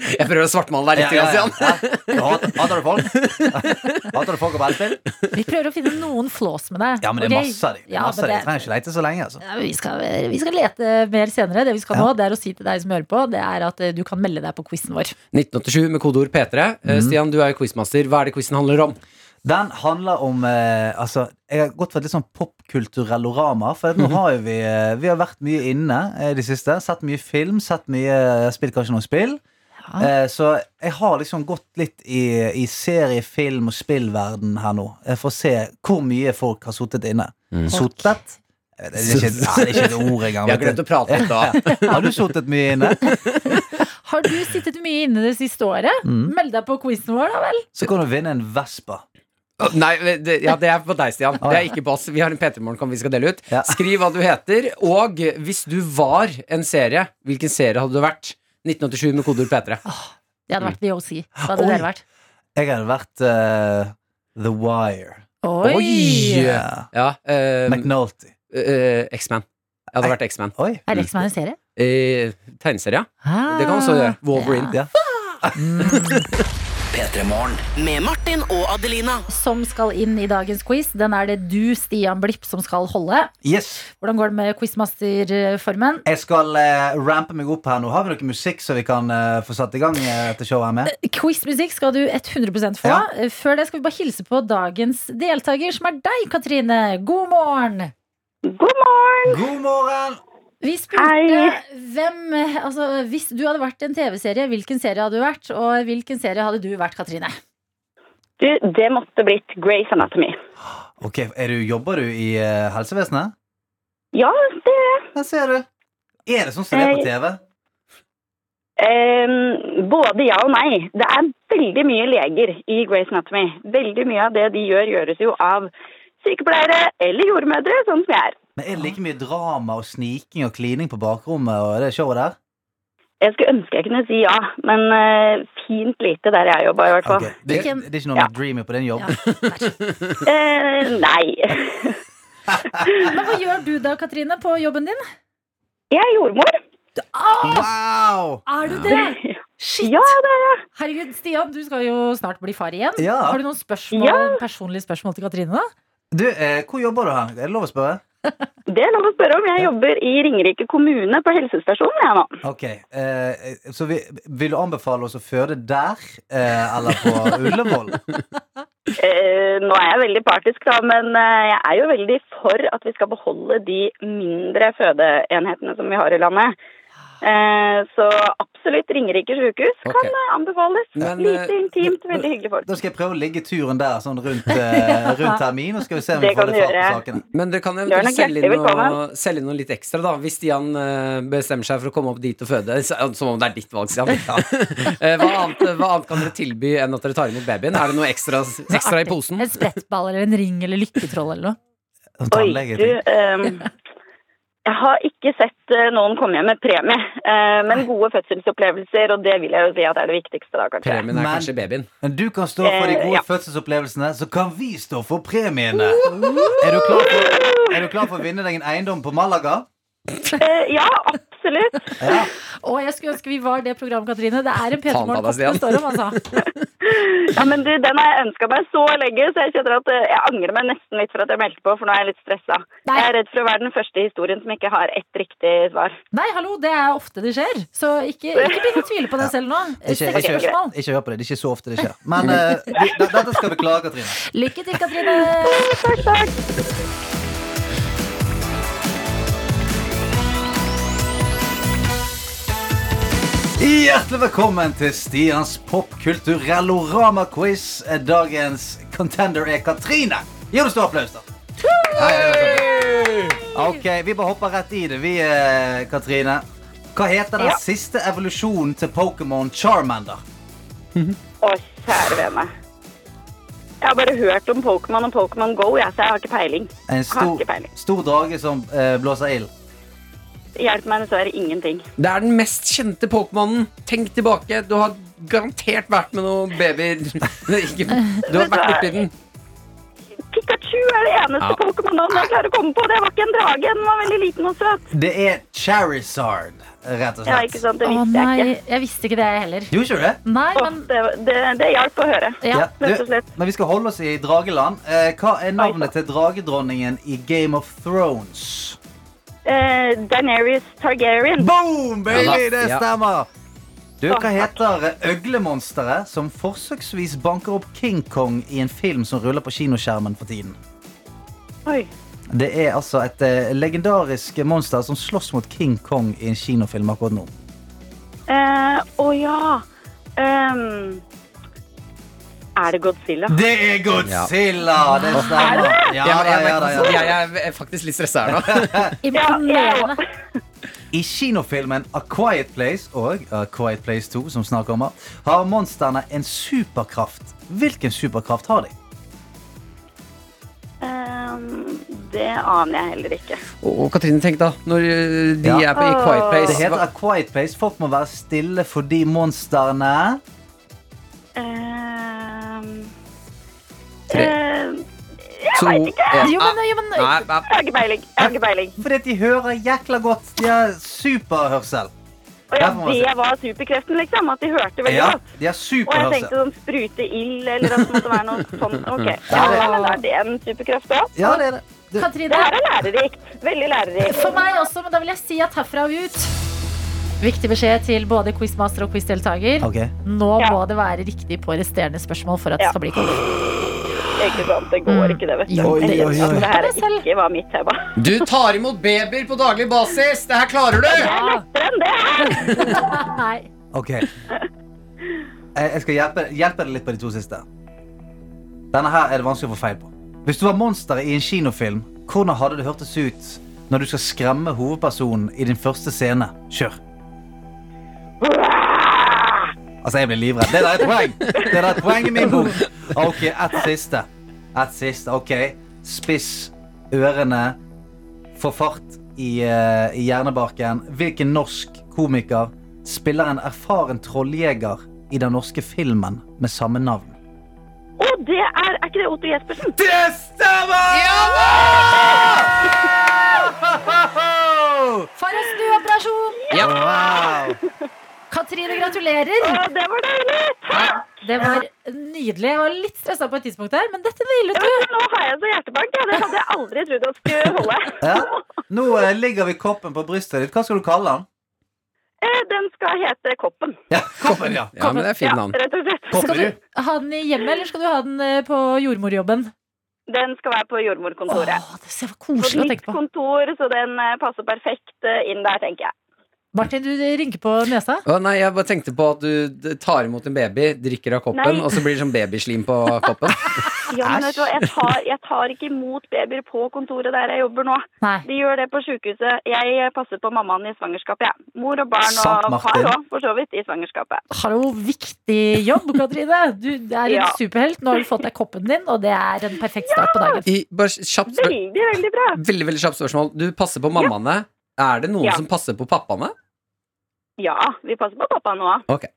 B: Jeg prøver å svartmale deg litt.
F: Ja,
B: grann,
F: ja,
B: Stian.
F: ja.
C: sånn.
F: Ja. Hater hater du folk? Hater du folk og ballspill?
C: Vi prøver å finne noen flås med deg.
F: Ja, men det er
C: ok?
F: masse av dem.
C: Ja, men
F: Jeg
C: det-
F: trenger ikke lete så lenge. Altså.
C: Ja, men vi, skal, vi skal lete mer senere. Det vi skal
F: Ja.
C: nå, det er å si til deg som hører på, det er at eh, du kan melde deg på quizen vår.
B: 1987 med kodeord P3.
E: Mhm.
B: Eh, Stian, du er jo quizmaster. Hva er det quizen handler om?
F: Den handler om eh, altså, Jeg har gått for et litt sånn popkulturellorama. For at
B: Mhm.
F: nå har jo vi eh, Vi har vært mye inne eh, i det siste. Sett mye film, sett mye eh, Spilt kanskje noen spill.
C: Ja.
F: Eh, så jeg har liksom gått litt i, i serie-, film- og spillverden her nå. eh, For å se hvor mye folk har sittet inne. Sottet? Eh, Det er ikke, ja, det er ikke et ord engang.
B: Jeg Mm. har
F: vet
B: glemt
F: du.
B: å prate litt da.
F: Har du sittet mye inne?
C: Har du sittet mye inne det siste året?
B: Mm.
C: Meld deg på quizen vår, da vel?
F: Så kan du vinne en Vespa.
B: Å, Nei, det, ja, det er på deg, Stian. Det er ikke på oss. Vi har en P3-morgenkamp vi skal dele ut.
F: Ja.
B: Skriv hva du heter, og hvis du var en serie, hvilken serie hadde du vært? 1987 med kodeord P3.
F: Ah.
C: Det hadde vært VOC. Hva hadde
F: Oi.
C: dere vært?
F: Jeg hadde vært eh, The Wire.
C: Oi!
F: Yeah.
B: Ja, eh,
F: McNulty.
B: eh, X-Man. Jeg hadde vært X-Man.
F: Oi.
C: Er det ikke som er en serie?
B: Eh, Tegneserie, ja. Det kan også gjøre. Wolverine.
F: Ja.
D: P3 Morgen. Med Martin og Adelina.
C: Ah. Som skal inn i dagens quiz. Den er det du, Stian Blipp, som skal holde.
F: Yes.
C: Hvordan går det med quizmasterformen?
F: Jeg skal eh, rampe meg opp her nå. Har vi noe musikk som vi kan eh, få satt i gang eh, til showet her med?
C: Quizmusikk skal du 100 få.
F: Ja.
C: Før det skal vi bare hilse på dagens deltaker, som er deg, Katrine. God morgen!
F: God morgen!
C: Vi spurte hvem altså, Hvis du hadde vært en TV-serie, hvilken serie hadde du vært? Og hvilken serie hadde du vært, Katrine?
G: Du, det måtte blitt Grey's Anatomy.
F: Ok, er du, Jobber du i eh, helsevesenet?
G: Ja, det
F: Der ser du. Er det sånn som det er på TV?
G: ehm, Både ja og nei. Det er veldig mye leger i Grey's Anatomy. Veldig mye av det de gjør, gjøres jo av sykepleiere eller jordmødre, sånn som jeg er.
F: Men Er det like mye drama og sniking og klining på bakrommet og det showet der?
G: Jeg skulle ønske jeg kunne si ja, men eh, fint lite der jeg jobba, i hvert fall.
F: Ok, Det, det
C: Hvilken-
F: er ikke noe
G: Ja.
F: dreamy på din jobb?
C: Ja, der.
G: Eh, nei.
C: Men hva gjør du da, Katrine, på jobben din?
G: Jeg er jordmor.
F: Wow!
C: Er du det? Shit!
G: Ja, det er jeg.
C: Herregud, Stian, du skal jo snart bli far igjen.
F: Ja.
C: Har du noen spørsmål, personlige spørsmål til Katrine? da?
F: Du, eh, hvor jobber du hen? Er det lov å spørre?
G: Det er lov å spørre om. Jeg jobber i Ringerike kommune på helsestasjonen jeg nå.
F: Ok, eh, så vi, Vil du anbefale oss å føde der, eh, eller på Ullevål?
G: Eh, nå er jeg veldig partisk, da, men eh, jeg er jo veldig for at vi skal beholde de mindre fødeenhetene som vi har i landet. Eh, så absolutt Ringerike sykehus
B: Ok.
G: kan eh, anbefales.
B: Men,
G: Lite
B: eh,
G: intimt, veldig hyggelige folk.
F: Da skal jeg prøve å ligge turen der sånn rundt, eh, rundt termin, og skal vi se om vi
G: Det
F: får
G: kan
F: litt fart på
G: du
F: sakene.
B: Men dere kan
G: Gjør nok
B: eventuelt selge inn,
G: hjertelig
B: noe,
G: velkommen.
B: selge inn noe litt ekstra, da. Hvis Stian eh, bestemmer seg for å komme opp dit og føde. s- eh, Som om det er ditt valg, Stian. Eh, hva, annet, hva annet kan dere tilby enn at dere tar imot babyen? Er det noe ekstra, ekstra i posen?
C: En sprettball eller en ring eller lykketroll eller noe.
F: Sånn
G: Oi,
F: tannlege,
G: du
F: ting.
G: ehm, Jeg har ikke sett eh, noen komme hjem med premie, eh, men gode fødselsopplevelser, og det vil jeg jo si at er det viktigste da, kanskje.
B: Premien er
F: Men-
B: kanskje babyen.
F: Men du kan stå for de
G: Eh,
F: gode
G: ja.
F: fødselsopplevelsene, så kan vi stå for premiene. Er du klar for, er du klar for å vinne deg en eiendom på Malaga?
G: Eh, ja, absolutt.
F: Ja.
C: Å, jeg skulle ønske vi var det programmet, Katrine. Det er en
B: Faen ta deg,
C: P3-morgen
B: Stian.
C: det står om, altså.
G: Ja, men du, Den har jeg ønska meg så lenge, så jeg kjenner at eh, jeg angrer meg nesten litt for at jeg meldte på, for nå er jeg litt stressa.
C: Nei.
G: Jeg er redd for å være den første i historien som ikke har ett riktig svar.
C: Nei, hallo, det er ofte det skjer. Så ikke, ikke begynn å tvile på deg selv nå.
F: Ikke,
C: Seks
F: ikke,
C: spørsmål.
F: ikke hør på det. Det er ikke så ofte det skjer. Men eh, vi, d- dette skal vi klare, Katrine.
C: Lykke til, Katrine.
G: Takk, takk.
F: Hjertelig velkommen til Stians popkulturellorama-quiz. Dagens contender er Katrine. Gi henne stor applaus, da. Ja, ja, ja, ja. Ok, Vi bare hopper rett i det, vi, eh, Katrine. Hva heter den
G: Ja.
F: siste evolusjonen til Pokémon Charmander?
G: Å, kjære vene. Jeg har bare hørt om Pokémon og Pokémon Go, jeg, så jeg har ikke peiling.
F: En
G: Har
F: stor,
G: ikke peiling.
F: stor drage som eh, blåser ild.
G: Hjelper meg dessverre ingenting.
B: Det er den mest kjente Pokémonen. Tenk tilbake. Du har garantert vært med noen babyer. Nei, ikke- Du har vært borti den.
G: Pikachu er det eneste
B: Ja.
G: Pokémon-navnet jeg klarer å komme på. Det var ikke en drage, den var veldig liten og søt.
F: Det er Charizard, rett og
G: Ja,
F: slett.
G: ikke sant, det
C: Å
G: visste jeg
C: nei,
G: ikke.
C: jeg visste ikke det jeg heller.
F: Gjorde ikke du det?
C: Nei,
G: Å,
C: men
G: det, det, det hjalp å høre.
C: Ja,
F: Ja,
G: rett og
F: du,
G: slett.
F: men vi skal holde oss i drageland. Eh, hva er navnet
G: Oi,
F: til dragedronningen i Game of Thrones?
G: Eh, Daenerys Targaryen.
F: Boom, baby!
B: Ja da.
F: Det
B: Ja.
F: stemmer. Du, hva
G: Takk.
F: heter øglemonsteret som forsøksvis banker opp King Kong i en film som ruller på kinoskjermen for tiden?
G: Oi.
F: Det er altså et eh, legendarisk monster som slåss mot King Kong i en kinofilm akkurat nå.
G: Eh, Å ja. Ehm, er det Godzilla?
F: Det er Godzilla! Det
B: Ja,
F: stemmer. Ja, da,
B: jeg,
F: ja, da, ja,
B: vet-
F: da.
B: jeg, jeg er faktisk litt stressa her nå.
C: imponerende.
F: I kinofilmen A Quiet Place og A Quiet Place 2, som snart kommer, har monstrene en superkraft. Hvilken superkraft har de?
G: Ehm, det aner jeg heller ikke.
B: Og Katrine, tenk da. Når eh, de
F: Ja.
B: er på, i Quiet Place.
F: Det heter
B: hva-
F: A Quiet Place. Folk må være stille fordi monstrene
G: Ehm,
B: Tre.
G: ehm,
B: to, en.
C: Jo, men, jo, men
B: Nei, nei.
G: jeg har ikke peiling. Jeg har ikke peiling.
F: Fordi at de hører jækla godt. De har superhørsel.
G: Og ja,
F: Der får man se.
G: det var superkreften, liksom. At de hørte veldig
F: Ja,
G: godt.
F: de har
G: Og jeg
F: superhørsel.
G: tenkte sånn sprute ild, eller at det måtte være noe sånt. Ok. Ja, men er det en superkraft òg?
F: Ja, det er det. Du,
G: Det
C: Katrine,
G: her er lærerikt. Veldig lærerikt.
C: for meg også, men da vil jeg si at herfra og ut. Viktig beskjed til både quizmaster og quizdeltaker.
F: Ok.
C: Nå
G: Ja.
C: må det være riktig på resterende spørmål for at det
G: Ja.
C: skal bli konkurranse.
G: Ikke sant? Det går ikke, det, vet du.
C: Jo,
F: Oi,
G: Jeg
F: oi,
G: kjenner
F: oi.
G: at Det her
C: Det selv.
G: ikke var mitt tema.
B: Du tar imot babyer på daglig basis! Det her klarer du!
G: Lettere enn det her!
C: Nei.
F: Ok. Jeg jeg skal hjelpe, hjelpe deg litt på de to siste. Denne her er det vanskelig å få feil på. Hvis du var monsteret i en kinofilm, hvordan hadde det hørtes ut når du skal skremme hovedpersonen i din første scene? Kjør. Altså, jeg blir livredd. Det der er et poeng. Det der er et poeng i min bok. Ok, ett siste. Ett siste. Ok. Spiss ørene. Få fart i, eh, i hjernebarken. Hvilken norsk komiker spiller en erfaren trolljeger i den norske filmen med samme navn?
G: Å, det er Er ikke det Otto Jespersen?
F: Det stemmer!
C: For en snuoperasjon!
F: Wow.
C: Trine, gratulerer!
G: Å, det var deilig!
C: Det var nydelig. Jeg var litt stressa på et tidspunkt der, men dette nailet du.
G: Nå har jeg så hjertebank. Ja. Det hadde jeg aldri trodd at skulle holde.
F: Ja. Nå eh, ligger vi koppen på brystet ditt. Hva skal du kalle den?
G: Eh, Den skal hete Koppen.
F: Ja, koppen, ja.
B: Ja, men det er fint navn.
G: rett og slett.
C: Skal du ha den i hjemmet, eller skal du ha den eh, på jordmorjobben?
G: Den skal være på
C: Åh,
G: jordmorkontoret.
C: det var
G: På
C: koselig å
G: mitt
C: tenke på.
G: kontor, så den eh, passer perfekt eh, inn der, tenker jeg.
C: Martin, du rynker på nesa.
B: Å nei, Jeg bare tenkte på at du d- tar imot en baby, drikker av koppen,
G: Nei.
B: og så blir det sånn babyslim på koppen.
G: Ja, men vet du hva, jeg tar, jeg tar ikke imot babyer på kontoret der jeg jobber nå.
C: Nei.
G: De gjør det på sykehuset. Jeg eh, passer på mammaen i svangerskapet, jeg. Mor og barn
F: Sant,
G: og
F: Martin.
G: far òg, for så vidt, i svangerskapet.
C: Hallo, viktig jobb, Katrine. Du er en
G: Ja.
C: superhelt. Nå har du fått deg koppen din, og det er en perfekt start på dagen.
B: I, bare kjapt spør
G: Veldig, veldig bra.
B: Veldig, veldig kjapt spørsmål. Du passer på mammaene. Er det noen
G: Ja.
B: som passer på pappaene?
G: Ja, vi passer på pappa nå.
B: Ok.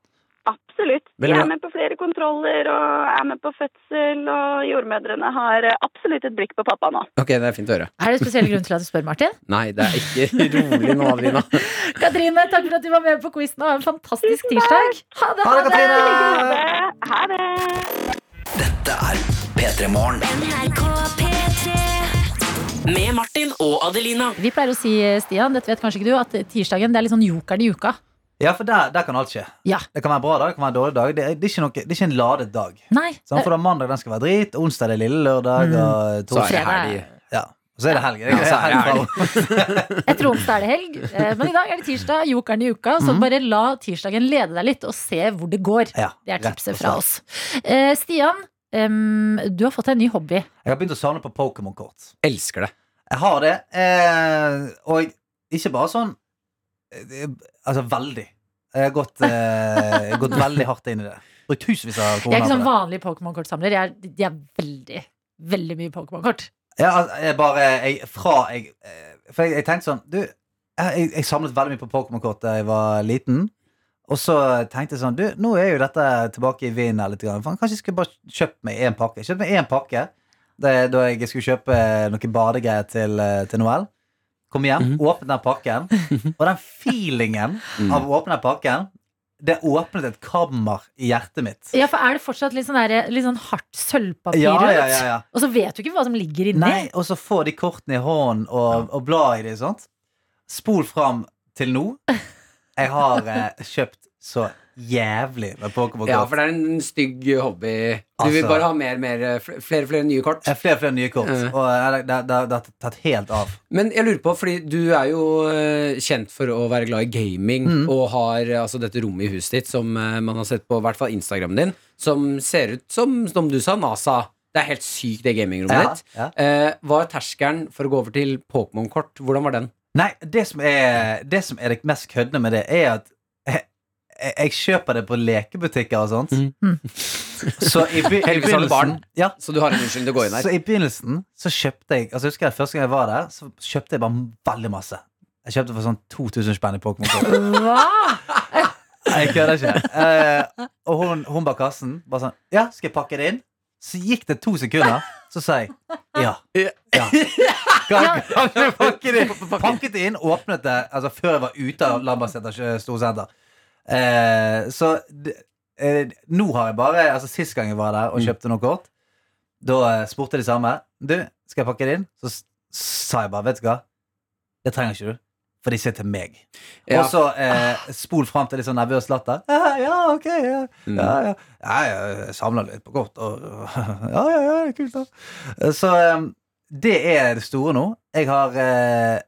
G: Absolutt. Vi
B: Veldig bra.
G: er med på flere kontroller og er med på fødsel, og jordmødrene har eh, absolutt et blikk på pappa nå.
B: Ok, det er fint å høre.
C: Er det spesiell grunn til at du spør, Martin?
B: Nei, det er ikke rolig nå, Adelina.
C: Katrine, takk for at du var med på quizen, og ha en fantastisk tirsdag. Ha det!
F: Ha det, Katrine!
G: Ha det.
B: Eh,
G: Ha det.
D: P3 Morgen. Med Martin og Adelina.
C: Vi pleier å si, eh, Stian, dette vet kanskje ikke du, at tirsdagen det er litt sånn jokeren i uka.
F: Ja, for der, der kan alt skje.
C: Ja.
F: Det kan være en bra dag, det kan være en dårlig dag. Det er, det er, ikke, noe, det er ikke en ladet dag.
C: Nei.
F: Sånn, for da mandag den skal være drit, onsdag er det lille
C: Eh.
F: lørdag,
C: Mm.
F: og
B: Så
F: torsdag
B: er det
C: Fredag.
B: helg.
F: ja. Og så er det helg. Det
B: Ja, så er det
F: er
B: helg.
F: helg.
C: Jeg tror onsdag er det helg, eh, men i dag er det tirsdag. Jokeren i uka.
F: Mhm.
C: Så bare la tirsdagen lede deg litt, og se hvor det går.
F: Ja,
C: Det er
F: rett og
C: tipset
F: slett.
C: fra oss. Eh, Stian, em, du har fått deg en ny hobby.
F: Jeg har begynt å savne på Pokémon-kort.
B: Elsker det.
F: Jeg har det. Eh, og ikke bare sånn eh, Altså veldig. Jeg har gått, eh, gått veldig hardt inn i det. Brukt tusenvis av
C: Jeg er
F: kroner
C: ikke sånn
F: på
C: vanlig
F: det.
C: Pokémon-kortsamler. Jeg er, jeg er veldig, veldig mye Pokémon-kort.
F: Ja, altså, jeg bare jeg, Fra jeg eh, For jeg, jeg tenkte sånn Du, jeg, jeg- jeg samlet veldig mye på Pokémon-kort da jeg var liten. Og så tenkte jeg sånn Du, nå er jo dette tilbake i vinden her litt. Grann. Faen, Kanskje jeg skulle bare kjøpt meg én pakke. Jeg Kjøpte meg én pakke da, da jeg skulle kjøpe noen badegreier til, eh, til Noel. Kom hjem,
B: Mhm.
F: åpnet den pakken, og den feelingen av å åpne den pakken Det åpnet et kammer i hjertet mitt.
C: Ja, for er det fortsatt litt sånn, der, litt sånn hardt sølvpapir
F: Ja,
C: rundt?
F: ja, ja, ja.
C: Og så vet du ikke hva som ligger inni.
F: Nei, og så få de kortene i hånden og, og bla i de, sant? Spol fram til nå. Jeg har eh, kjøpt så jævlig med Pokémon-kort.
B: Ja, for det er en stygg hobby. Du vil
F: Altså.
B: bare ha mer, mer, fl- flere, flere nye kort.
F: Jeg har flere og flere nye kort,
B: Mm.
F: og eh, det, det, det har tatt helt av.
B: Men jeg lurer på, fordi du er jo eh, kjent for å være glad i gaming
F: Mm.
B: og har eh, altså dette rommet i huset ditt som eh, man har sett på i hvert fall Instagramen din, som ser ut som, som du sa, NASA. Det er helt sykt, det gamingrommet ditt.
F: Ja.
B: Eh, var terskelen for å gå over til Pokémon-kort, hvordan var den?
F: Nei, det som, er, det som er det mest køddende med det, er at jeg, jeg, jeg kjøper det på lekebutikker og sånt.
B: Mm.
F: Så i, be-
B: Heldigvis
F: i
B: har du
F: begynnelsen
B: barn.
F: ja,
B: Så du har en unnskyldning til å gå inn her.
F: Så i begynnelsen så kjøpte jeg Altså husker jeg første gang jeg var der, så kjøpte jeg bare veldig masse. Jeg kjøpte for sånn 2000 spenn i Pokémon.
C: Hva?
F: Jeg kødder ikke. Eh, og hun, hun bak kassen bare sånn Ja, skal jeg pakke det inn? Så gikk det to sekunder, så sa jeg ja. ja. Kan, kan du pakke det inn? Pakket det inn, åpnet det altså før jeg var ute av Lambertseter eh, storsenter. Eh, så d- eh, nå har jeg bare Altså Sist gang jeg var der og kjøpte noe kort, da eh, spurte de samme. Du, skal jeg pakke det inn? Så s- sa jeg bare, vet du hva, det trenger ikke du. For de ser til meg.
B: Ja.
F: Og så eh, spol fram til litt sånn nervøs latter. Ja, ja, ok. Ja,
B: Mm.
F: ja, ja. ja jeg samler litt på kort. Og, ja, ja, ja, kult, da. Så eh, det er det store nå. Jeg har eh,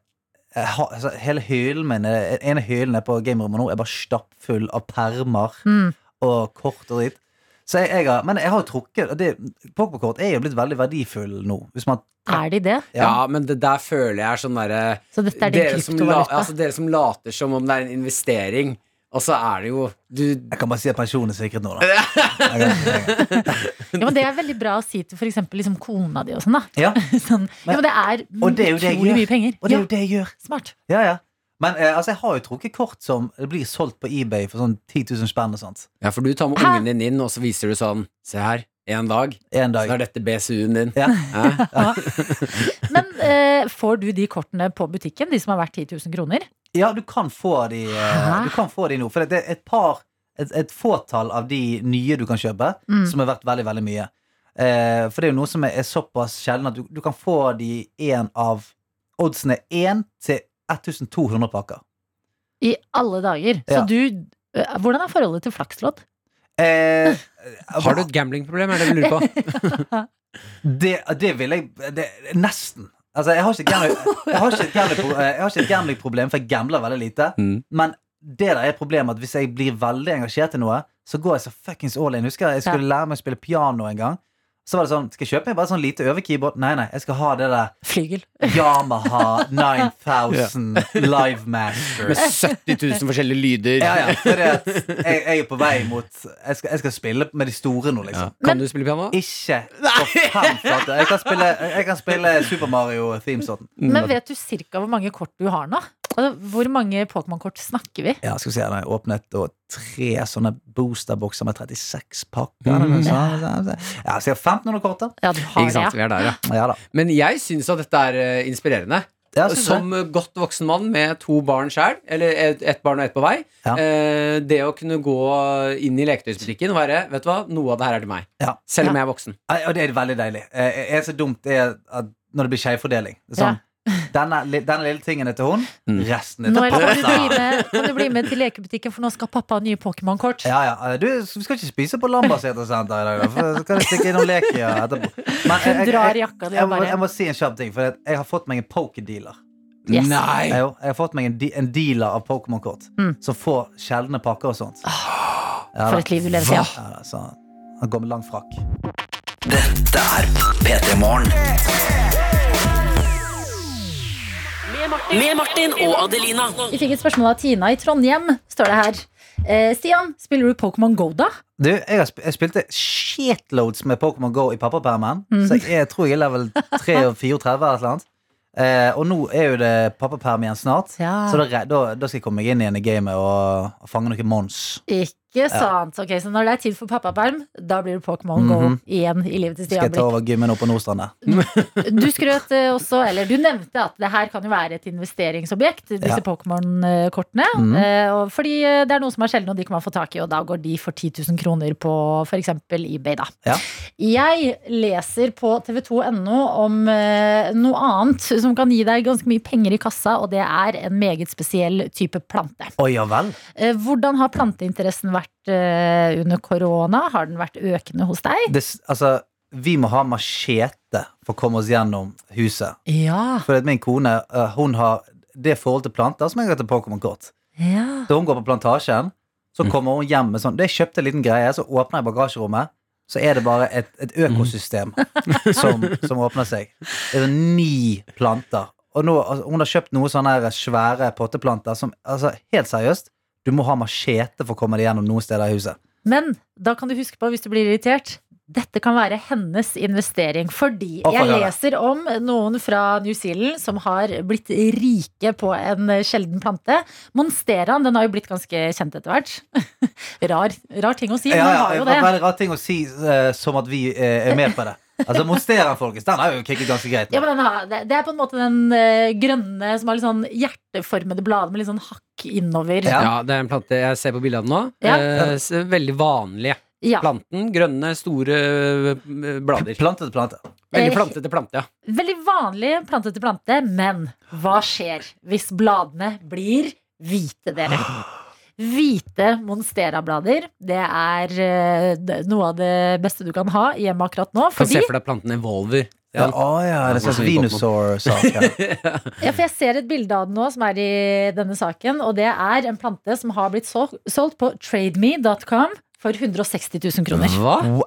F: jeg har- altså, hele hyllen min Den ene hyllen er på gamerommet nå er bare stappfull av permer
C: Mm.
F: og kort og dritt. Så jeg, jeg har, men jeg har jo trukket og det- Pokémon-kort er jo blitt veldig verdifull nå. Hvis man
C: Er de det?
B: Ja. men det der føler jeg er sånn derre
C: Så dette er din
B: dere, som la-
C: kryptovaluta?
B: altså, dere som later som om det er en investering, og så er det jo du,
F: Jeg kan bare si at pensjonen er sikret nå, da. Jeg kan, jeg kan.
C: Ja, men det er veldig bra å si til f.eks. Liksom kona di og sånn, da.
F: Ja.
C: Sånn, ja, men det er
F: Og det er jo det jeg
C: utrolig
F: gjør.
C: mye penger.
F: Og det er
C: ja,
F: jo det jeg gjør.
C: smart.
F: Ja, ja. Men eh, altså, jeg har jo trukket kort som det blir solgt på eBay for sånn 10 000 spenn og sånt.
B: Ja, for du tar med
C: Hæ?
B: ungen din inn, og så viser du sånn Se her, en dag,
F: En
B: så
F: dag.
B: er dette BSU-en din.
F: Ja.
B: Hæ?
C: Men eh, får du de kortene på butikken, de som er verdt 10 000 kroner?
F: Ja, du kan få de, eh,
C: Hæ?
F: du kan få de nå. For det er et par et, et fåtall av de nye du kan kjøpe,
C: Mm.
F: som er verdt veldig, veldig mye. Eh, for det er jo noe som er, er såpass sjelden at du, du kan få de én av Oddsen er 1 til 1200 pakker.
C: I alle dager. Så
F: Ja.
C: du eh, Hvordan er forholdet til flakslodd?
F: Eh,
B: Har du et gamblingproblem, er det du lurer på?
F: Det, det vil jeg det, Nesten. Altså, jeg har ikke et gambling- jeg har ikke et gambling- jeg har ikke et gamblingproblem, for jeg gambler veldig lite.
B: Mm.
F: Men det der er problemet at hvis jeg blir veldig engasjert i noe, så går jeg så fuckings all in. Husker jeg, jeg skulle lære meg å spille piano en gang. Så var det sånn Skal jeg kjøpe meg bare sånn lite øvekeyboard? Nei, nei, jeg skal ha det der
C: Flygel.
F: Yamaha 9000 Live Master.
B: Med 70 000 forskjellige lyder.
F: Ja, ja. For det at jeg, jeg er på vei mot jeg skal, jeg skal spille med de store nå, liksom.
B: Kan du spille piano?
F: Ikke for fem flate. Jeg kan spille, jeg kan spille Super Mario Themesorten.
C: Men vet du cirka hvor mange kort du har nå? Altså, hvor mange Pokémon-kort snakker vi?
F: Ja, skal vi se, den er åpnet og tre sånne boosterbokser med 36 pakker. Sånn, eller noe sånt. Ja, så jeg har 1500 kort da.
C: Ja, du har
B: Ikke sant,
C: det.
B: vi er der, ja.
F: Ja da.
B: Men jeg syns at dette er eh, inspirerende.
F: Ja, synes jeg.
B: Som eh, godt voksen mann med to barn sjøl, eller ett et barn og ett på vei,
F: Ja.
B: eh, det å kunne gå inn i leketøysbutikken og være Vet du hva, noe av det her er til meg.
F: Ja.
B: Selv om
C: Ja.
B: jeg er voksen.
F: Ja, Og det er veldig deilig. Eh, Det som er dumt, er at når det blir skjevfordeling. Det er Sånn, denne, li- denne lille tingen er til hun,
B: Mm.
F: resten er
C: Nå
F: til
C: eller, kan, du bli
F: pappa.
C: med, kan du bli med til lekebutikken, for nå skal pappa ha nye Pokémon-kort.
F: Ja, ja. eh, Du vi skal ikke spise på Lambertseter senter i dag, da, for så kan jeg stikke innom Leki ja, etterpå. Men jeg,
C: Hun
F: jeg,
C: drar
F: jeg, jeg,
C: jakka di og
F: må, jeg
C: bare
F: må si en kjapp ting, for jeg har fått meg en pokerdealer.
C: Yes.
B: Nei!
F: Jeg, jeg har fått meg en, de, en dealer av Pokémon-kort,
C: Mm. Ah,
F: som får sjeldne pakker og sånt. Ja,
C: For
F: da.
C: et liv du lever, sier
F: Ja, da, så han går med lang frakk.
D: Med Martin og Adelina.
C: Vi fikk et spørsmål av Tina i Trondheim, står det her. Eh, Stian, spiller du Pokémon Go, da?
F: Du, jeg, har sp jeg spilte shitloads med Pokémon Go i pappapermen.
C: Mm.
F: Så jeg, jeg tror jeg er level 3 og 34 eller et eller annet. Eh, og nå er jo det pappaperm igjen snart,
C: Ja.
F: så da, re- da, da skal jeg komme meg inn igjen i gamet og, og fange noen mons.
C: Ikke sant. Ok, Så når det er tid for pappaperm, da blir det Pokémon Go
F: Mhm.
C: igjen i livet til
F: Skal
C: Stian
F: jeg ta
C: Blikk.
F: over gymmen oppe på Nordstrand der?
C: Du skrøt eh, også, eller du nevnte at det her kan jo være et investeringsobjekt, disse
F: Ja.
C: Pokémon-kortene.
F: Mhm.
C: Eh, og fordi eh, det er noen som er sjeldne, og de kan man få tak i, og da går de for 10 000 kroner på f.eks. eBay, da.
F: Ja.
C: Jeg leser på tv2.no om eh, noe annet som kan gi deg ganske mye penger i kassa, og det er en meget spesiell type plante.
F: Å ja vel?
C: Eh, hvordan har planteinteressen vært eh, under korona? Har den vært økende hos deg?
F: Det, s- altså, vi må ha machete for å komme oss gjennom huset.
C: Ja.
F: For at min kone eh, hun har det forhold til planter som jeg har til Pokémon-kort.
C: ja.
F: Da hun går på plantasjen, så kommer hun hjem med sånn Det er kjøpt en liten greie, så åpner jeg bagasjerommet. Så er det bare et, et økosystem som, som åpner seg. Det er sånn ni planter. Og nå, altså, hun har kjøpt noen sånne her svære potteplanter som altså, Helt seriøst, du må ha machete for å komme deg gjennom noen steder i huset.
C: Men da kan du huske på, hvis du blir irritert dette kan være hennes investering, fordi
F: Å, få
C: jeg
F: høre.
C: leser om noen fra New Zealand som har blitt rike på en eh, sjelden plante. Monsteraen, den har jo blitt ganske kjent etter hvert. Rar, rar ting å si, men den har jo
F: det var
C: det.
F: veldig rar ting å si eh, som at vi eh, er med på det. Altså, Monstera, folkens, den har jo kicket ganske greit.
C: Ja,
F: nå.
C: men den har, det det er på en måte den eh, grønne som har litt sånn hjerteformede blader med litt sånn hakk innover.
F: Ja.
B: Ja. det er en plante jeg ser på bildene nå.
C: Ja.
B: Eh, s- veldig vanlig.
C: Ja.
B: Planten. Grønne, store eh, blader.
F: Plante til plante.
B: Veldig plantete plante, ja.
C: Veldig vanlig plante til plante, men hva skjer hvis bladene blir hvite, dere? Hvite monstera-blader, det er eh, det- noe av det beste du kan ha hjemme akkurat nå.
B: Kan
C: Fordi,
B: se for deg planten evolver. Ja.
F: Ja, å ja, det er en
B: Sånn
F: slags
B: som i
F: Venusaur-sak. Ja.
C: ja, for jeg ser et bilde av den nå som er i denne saken, og det er en plante som har blitt sol- solgt på trademe.com for 160 000 kroner.
B: Hva?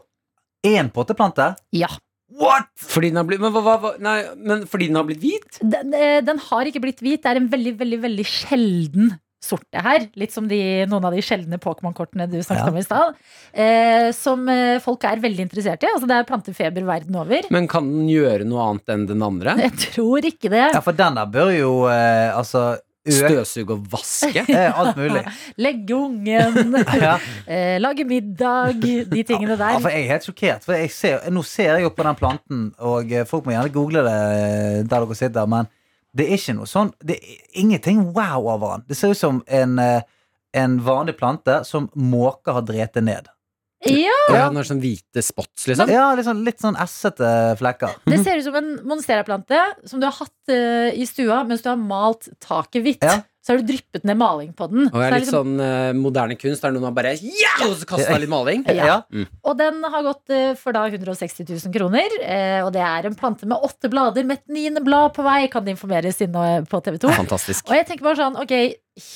F: Én potteplante?
C: Ja.
F: What?!
B: Fordi den har blitt, men, hva, hva, hva- nei, men fordi den har blitt hvit?
C: Den, eh, den har ikke blitt hvit, det er en veldig, veldig, veldig sjelden sort det her. Litt som de, noen av de sjeldne Pokémon-kortene du snakket
F: Ja.
C: om i stad. Eh, som eh, folk er veldig interessert i. Altså, det er plantefeber verden over.
B: Men kan den gjøre noe annet enn den andre?
C: Jeg tror ikke det.
F: Ja, for den der bør jo eh, altså øke
B: Støvsuge og vaske?
F: eh, alt mulig.
C: Legge ungen,
F: Ja.
C: eh, lage middag, de tingene
F: Ja,
C: der.
F: for jeg er helt sjokkert. For jeg ser, nå ser jeg jo på den planten, og eh, folk må gjerne google det eh, der dere sitter, men Det er ikke noe sånn Det er ingenting wow over han. Det ser ut som en, eh, en vanlig plante som måker har drept ned.
C: Ja,
B: Ja, den har sånn hvite spots, liksom.
F: Ja, litt sånn, litt sånn essete flekker.
C: Det ser ut som en monsteraplante som du har hatt eh, i stua mens du har malt taket hvitt.
F: Ja.
C: Så har du dryppet ned maling på den.
B: Og
C: Så
B: jeg
C: det liksom-
B: er litt
C: er
B: sånn eh, moderne kunst, der noen har bare ja! Og så kastet jeg litt maling.
F: sånn-
C: Ja.
B: Mm.
C: Og den har gått eh, for da 160 000 kroner. eh, Og det er en plante med åtte blader, med et niende blad på vei, kan det informeres inne på TV 2.
B: Fantastisk.
C: Og jeg tenker bare sånn, ok,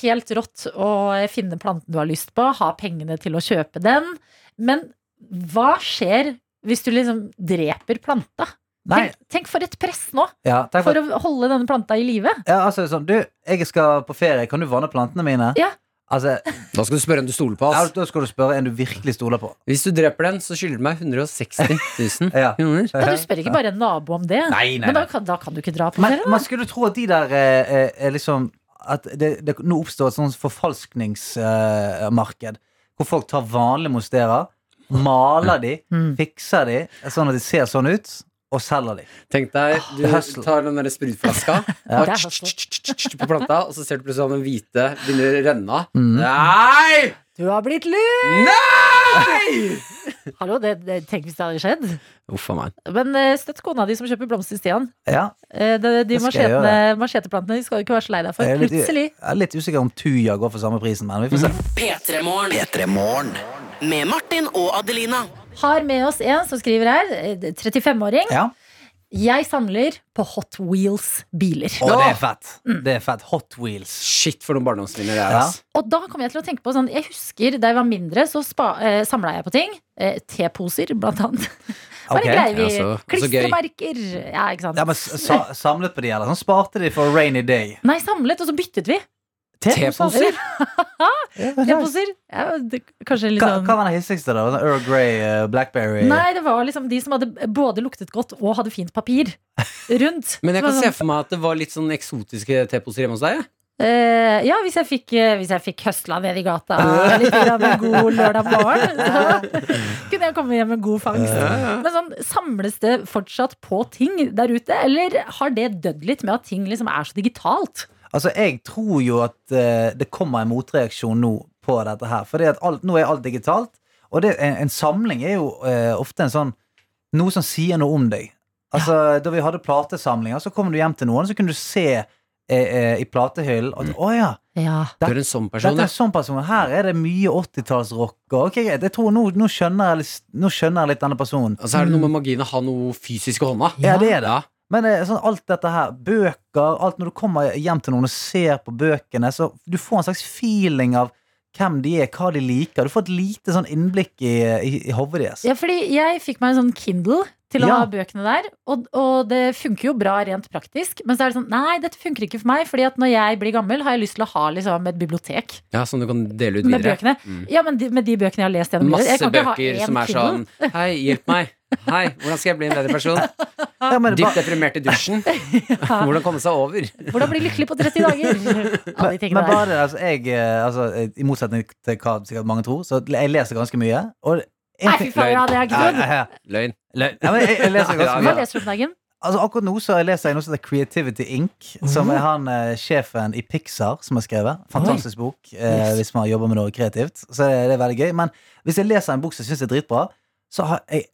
C: helt rått å finne planten du har lyst på, ha pengene til å kjøpe den, men hva skjer hvis du liksom dreper planta?
F: Nei,
C: Tenk, tenk for et press nå,
F: ja, takk for
C: for å holde denne planta i live.
F: Ja, altså sånn, du, jeg skal på ferie, kan du vanne plantene mine?
C: Ja.
F: Altså,
B: Da skal du spørre om du stoler på
F: ja,
B: oss.
F: da skal du spørre en du virkelig stoler på.
B: Hvis du dreper den, så skylder du meg 160 000
F: Ja.
B: kroner.
C: Ja, du spør ikke bare en nabo om det,
F: Nei, nei,
C: men da
F: nei.
C: kan, da kan du ikke dra på
F: Men
C: ferie. da.
F: man skulle tro at de der eh, eh, er liksom At det, det nå oppstår et sånt forfalskningsmarked. Eh, marked, hvor folk tar vanlige monsterer, maler de,
C: Mm.
F: fikser de, sånn at de ser sånn ut, og selger de.
B: Tenk deg, du
F: Hustle.
B: tar den der sprutflaska
C: Ja.
B: og tsk-tsk-tsk-tsk på planta, og så ser du plutselig at den hvite begynner å renne av.
F: Mm.
B: Nei!
C: Du har blitt lurt!
B: Nei!
C: Hallo, det, det, tenk hvis det hadde skjedd.
B: Uff a meg.
C: Men eh, støtt kona di som kjøper blomster, Stian.
F: Ja,
C: Eh, De, de
F: Det skal jeg
C: machetene- macheteplantene de skal du ikke være så lei deg
F: jeg,
C: for.
F: er litt,
C: Plutselig. Mm.
F: jeg er litt usikker om Tuja går for samme prisen, men vi får se.
D: P3morgen. Med Martin og Adelina.
C: Har med oss en som skriver her, eh, 35-åring.
F: Ja.
C: Jeg samler på Hot Wheels-biler.
F: Og det er fett.
C: Mm.
F: Det er fett. Hot wheels.
B: Shit, for noen barndomsminner det er.
F: Ja.
B: ass.
C: Og da kom jeg til å tenke på sånn, jeg husker da jeg var mindre, så eh, samla jeg på ting. Eh, Teposer, blant annet. Bare
F: Ok.
C: greier vi.
B: Ja, så- så gøy.
C: Klistremerker. Ja, ikke sant.
F: Ja, men s- sa, Samlet på de, eller? Sånn sparte de for rainy day.
C: Nei, samlet, og så byttet vi.
B: Teposer?
F: Ja, nice.
C: Teposer. Ja, det, kanskje litt
F: Hva, hva
C: sånn
F: var den hissigste, da? Sånn Earl Grey, eh, Blackberry
C: Nei, det var liksom de som hadde både luktet godt og hadde fint papir rundt.
B: Men jeg
C: Så
B: kan se
C: var det sånn,
B: for meg at det var litt sånn eksotiske teposer hjemme hos deg. jeg.
C: eh, Ja, hvis jeg fikk, eh, hvis jeg fikk høsla ned i gata litt grann en god lørdag morgen, så kunne jeg komme hjem med god fangst. Men sånn, samles det fortsatt på ting der ute, eller har det dødd litt med at ting liksom er så digitalt?
F: Altså, jeg tror jo at eh, det kommer en motreaksjon nå på dette her. For nå er alt digitalt, og det, en, en samling er jo eh, ofte en sånn Noe som sier noe om deg. Altså, Da vi hadde platesamlinger, så kom du hjem til noen, så kunne du se eh, eh, i platehyllen at å ja,
C: Ja.
B: Du er en sånn person,
F: Dette
B: ja.
F: er sånn person. Her er det mye 80-tallsrock. og Ok, greit, jeg tror nå, nå, skjønner jeg, litt- nå skjønner jeg litt denne personen.
B: Og så er det noe med magien å ha noe fysisk i hånda.
F: Ja, det er det.
B: Ja.
F: Men eh, sånn, alt dette her, bøker alt Når du kommer hjem til noen og ser på bøkene, så du får en slags feeling av hvem de er, hva de liker. Du får et lite sånn innblikk i, i, i hodet deres.
C: Ja, fordi jeg fikk meg en sånn Kindle til å
F: Ja.
C: ha bøkene der, og, og det funker jo bra rent praktisk, men så er det sånn, nei, dette funker ikke for meg, fordi at når jeg blir gammel, har jeg lyst til å ha liksom, et bibliotek
B: Ja, Som du kan dele ut
C: med
B: videre.
C: bøkene.
B: Mm.
C: Ja, men de, med de bøkene jeg har lest gjennom livet.
B: Masse
C: Jeg kan ikke ha
B: bøker
C: én
B: som er sånn
C: Kindle.
B: Hei, hjelp meg. Hei, hvordan skal jeg bli en bedre person?
F: Ja, men,
B: Dypt
F: bare,
B: deprimert i dusjen. Hvordan komme seg over?
C: Hvordan bli lykkelig på 30 dager? Alle de
F: men
C: tingene
F: bare
C: der.
F: det, altså, jeg, eh, altså, eh, I motsetning til hva sikkert mange tror, så jeg leser ganske mye. Og en
C: Nei, fy
F: ting-
C: faen, ja, det er ikke
F: Nei,
C: dumt.
F: nei,
B: Løgn.
F: nei. Nei, men jeg, jeg leser
B: Ja,
F: ganske
C: Hva
F: mye.
C: leser du om dagen?
F: Altså Akkurat nå så leser jeg noe som heter Creativity Inc., som er han eh, sjefen i Pixar som har skrevet. Fantastisk bok eh, hvis man jobber med noe kreativt. Så det, det er veldig gøy. Men hvis jeg leser en bok som jeg syns er dritbra, så har jeg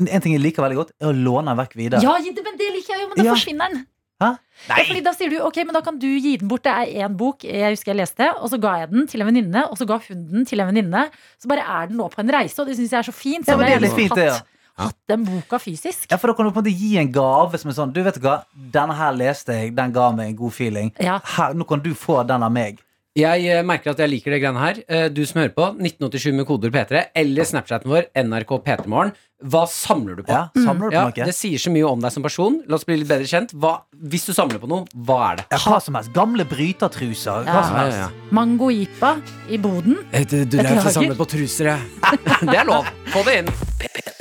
F: En ting jeg liker veldig godt, er å låne den vekk videre.
C: Ja, gi det- men det liker jeg jo, men da
F: Ja.
C: forsvinner den.
F: Hæ?
C: Ja, fordi da sier du ok, men da kan du gi den bort. Det er én bok jeg husker jeg leste, og så ga jeg den til en venninne, og så ga hun den til en venninne. Så bare er den nå på en reise, og det syns jeg er så fint. Så
F: Ja, men
C: hadde
F: det er
C: jeg
F: litt fint,
C: hatt,
F: det, ja.
C: hatt den boka fysisk.
F: Ja, For da kan du på en måte gi en gave som er sånn Du vet hva, denne her leste jeg, den ga meg en god feeling.
C: Ja.
F: Her, nå kan du få den av meg.
B: Jeg eh, merker at jeg liker det greiene her. Eh, Du som hører på, 1987 med koder P3, eller Snapchaten vår, NRK P3morgen. Hva samler du på?
F: Ja, Samler du på
B: Ja,
F: noe?
B: det sier så mye om deg som person. La oss bli litt bedre kjent. Hva, hvis du samler på noe, hva er det?
F: Ja, hva som helst. Gamle brytertruser. Hva
C: Ja.
F: som helst.
C: Mangojipa i boden.
B: Eh, Du, du
C: er jo for samlet
B: på truser, jeg. det er lov. Få det inn.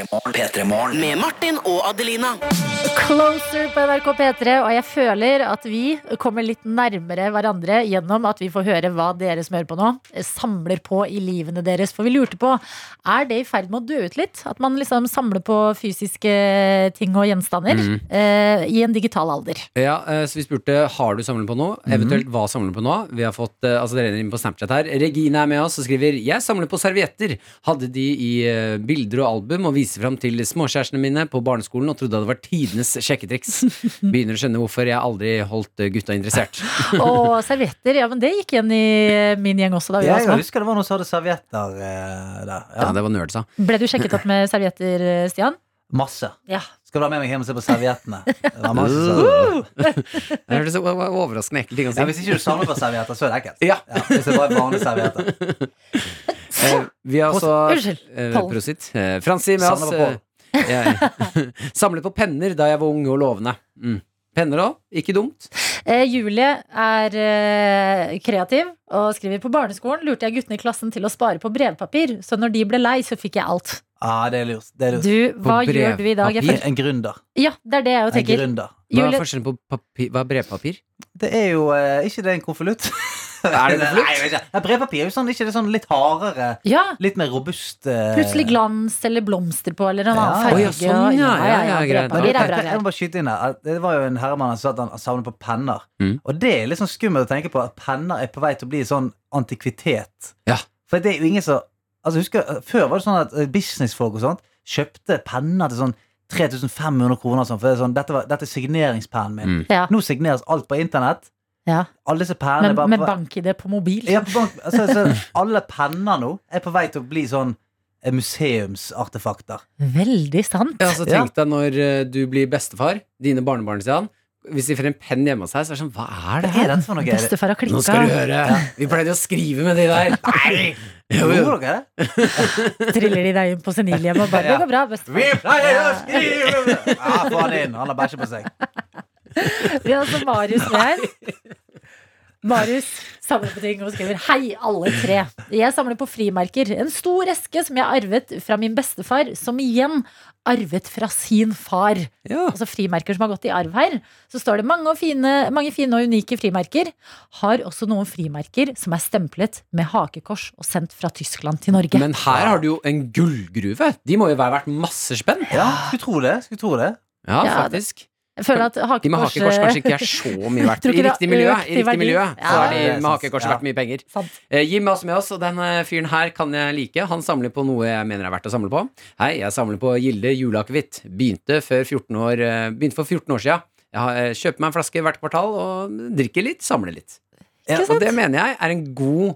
D: Med Martin og Adelina.
C: Closer på NRK P3, og jeg føler at vi kommer litt nærmere hverandre gjennom at vi får høre hva dere som hører på nå, eh, samler på i livene deres. For vi lurte på, er det i ferd med å dø ut litt? At man liksom samler på fysiske ting og gjenstander eh, i en digital alder?
B: Ja, eh, så vi spurte har du samlet på noe,
F: Mhm.
B: eventuelt hva samler du på nå. Vi har fått, eh, altså Det renner inn på Snapchat her. Regine er med oss og skriver 'Jeg samler på servietter'. Hadde de i eh, bilder og album og viser fram til småkjærestene mine på barneskolen og trodde det var tidenes sjekketriks. Begynner å skjønne hvorfor jeg aldri holdt eh, gutta interessert.
C: Og servietter, ja, men det gikk igjen i eh, min gjeng også da vi var
F: Jeg
C: små.
F: husker det var noen som hadde servietter eh, der.
B: Ja,
F: Ja.
B: det var nerds, da.
C: Ble du sjekket opp med servietter, eh, Stian?
F: Masse.
C: Ja.
F: Skal du ha med meg hjem og se på serviettene? Det var masse servietter.
B: Uh! Det hørtes o- o- overraskende ekkelt ting å si.
F: Ja, hvis ikke du samler på servietter, så er det ekkelt.
B: Ja.
F: hvis det bare er vanlige servietter.
B: Eh, vi har også
C: Unnskyld.
B: eh,
C: Pollen.
B: Prosit. Eh, Franzi med oss.
F: Samler på pollen.
B: eh, jeg- Samlet på penner da jeg var ung og lovende. Mm. Penner òg, ikke dumt.
C: Eh, Julie er eh, kreativ og skriver på barneskolen lurte jeg guttene i klassen til å spare på brevpapir, så når de ble lei, så fikk jeg alt.
F: Ah, det er lurt. Det er lurt.
C: Du, hva gjør du i dag? Jeg
F: I
C: føler-
F: en gründer.
C: Ja, det er det jeg jo
F: En
C: tenker.
F: gründer.
B: Hva er
C: Julie,
B: forskjellen på papir, hva er brevpapir?
F: Det er jo eh, ikke det en konvolutt.
B: Er det en konvolutt?
F: Nei, jeg vet ikke. Nei, Brevpapir er jo sånn, ikke det er sånn litt hardere,
C: ja,
F: litt mer robust eh,
C: plutselig glans eller blomster på eller en annen
F: Ja.
B: Å,
C: farge.
B: ja, sånn, ja,
C: og-
B: ja, ja, greit.
C: brevpapir
F: Men du,
C: er bra
F: tenkte, jeg
C: greier.
F: må bare skyte inn her at Det var jo en herremann som sa at han savnet på penner.
B: Mm.
F: Og det er litt sånn skummelt å tenke på at penner er på vei til å bli sånn antikvitet.
B: Ja.
F: For det er jo ingen som altså, husker, Før var det sånn at eh, businessfolk og sånt kjøpte penner til sånn 3500 kroner og sånn. For det er sånn, dette, var, dette er signeringspennen min.
B: Mm.
C: Ja.
F: Nå signeres alt på internett.
C: Ja.
F: Alle disse
C: Men
F: pennene er bare
C: med
F: på vei-
C: bank-ID på mobil.
F: Ja, på bank. Altså, altså, alle penner nå er på vei til å bli sånn eh, museumsartefakter.
C: Veldig sant.
B: Ja, så Tenk deg når eh, du blir bestefar, dine barnebarn, sier han. Hvis de får en penn hjemme hos deg, så er det sånn Hva er det
F: Hva
B: her?
F: er dette for noe? Er det-
C: Bestefar har
B: Nå skal du
C: klikka.
B: høre! Vi pleide å skrive med de der. Nei! Jo, jo.
F: Gjorde dere det?
C: Triller de deg inn på senilhjemmet og bare
F: Ja.
C: 'Det går bra, bestefar'.
F: Vi pleier å skrive om det! Ja, få han inn. Han har bæsjet på seg.
C: Vi har altså Marius med her. Marius samler på ting og skriver 'Hei, alle tre'. Jeg samler på frimerker. En stor eske som jeg arvet fra min bestefar, som igjen arvet fra sin far.
B: Ja.
C: Altså frimerker som har gått i arv her. Så står det mange, og fine, mange fine og unike frimerker. Har også noen frimerker som er stemplet med hakekors og sendt fra Tyskland til Norge.
B: Men her har du jo en gullgruve. De må jo være verdt masse spenn.
F: Ja, skulle tro det. Skulle tro det.
B: Ja,
C: Ja, det-
B: faktisk.
C: jeg føler at
B: De med
C: hakekors,
B: hakekors
C: eh,
B: kanskje ikke er så mye verdt.
C: Tror
B: I
C: ikke det har
B: riktig miljø,
C: økt i
B: i riktig
C: verdi.
B: miljø så
C: Ja.
B: er de med hakekors
F: Ja.
B: verdt mye penger.
C: Sant.
B: Eh, Jim er også med oss, og den eh, fyren her kan jeg like. Han samler på noe jeg mener er verdt å samle på. Hei, jeg samler på Gilde juleakevitt. Begynte, før 14 år, eh, begynte for 14 år sia. Jeg har, eh, kjøper meg en flaske hvert kvartal og drikker litt, samler litt.
F: Ja,
B: Ja, og det mener jeg er en god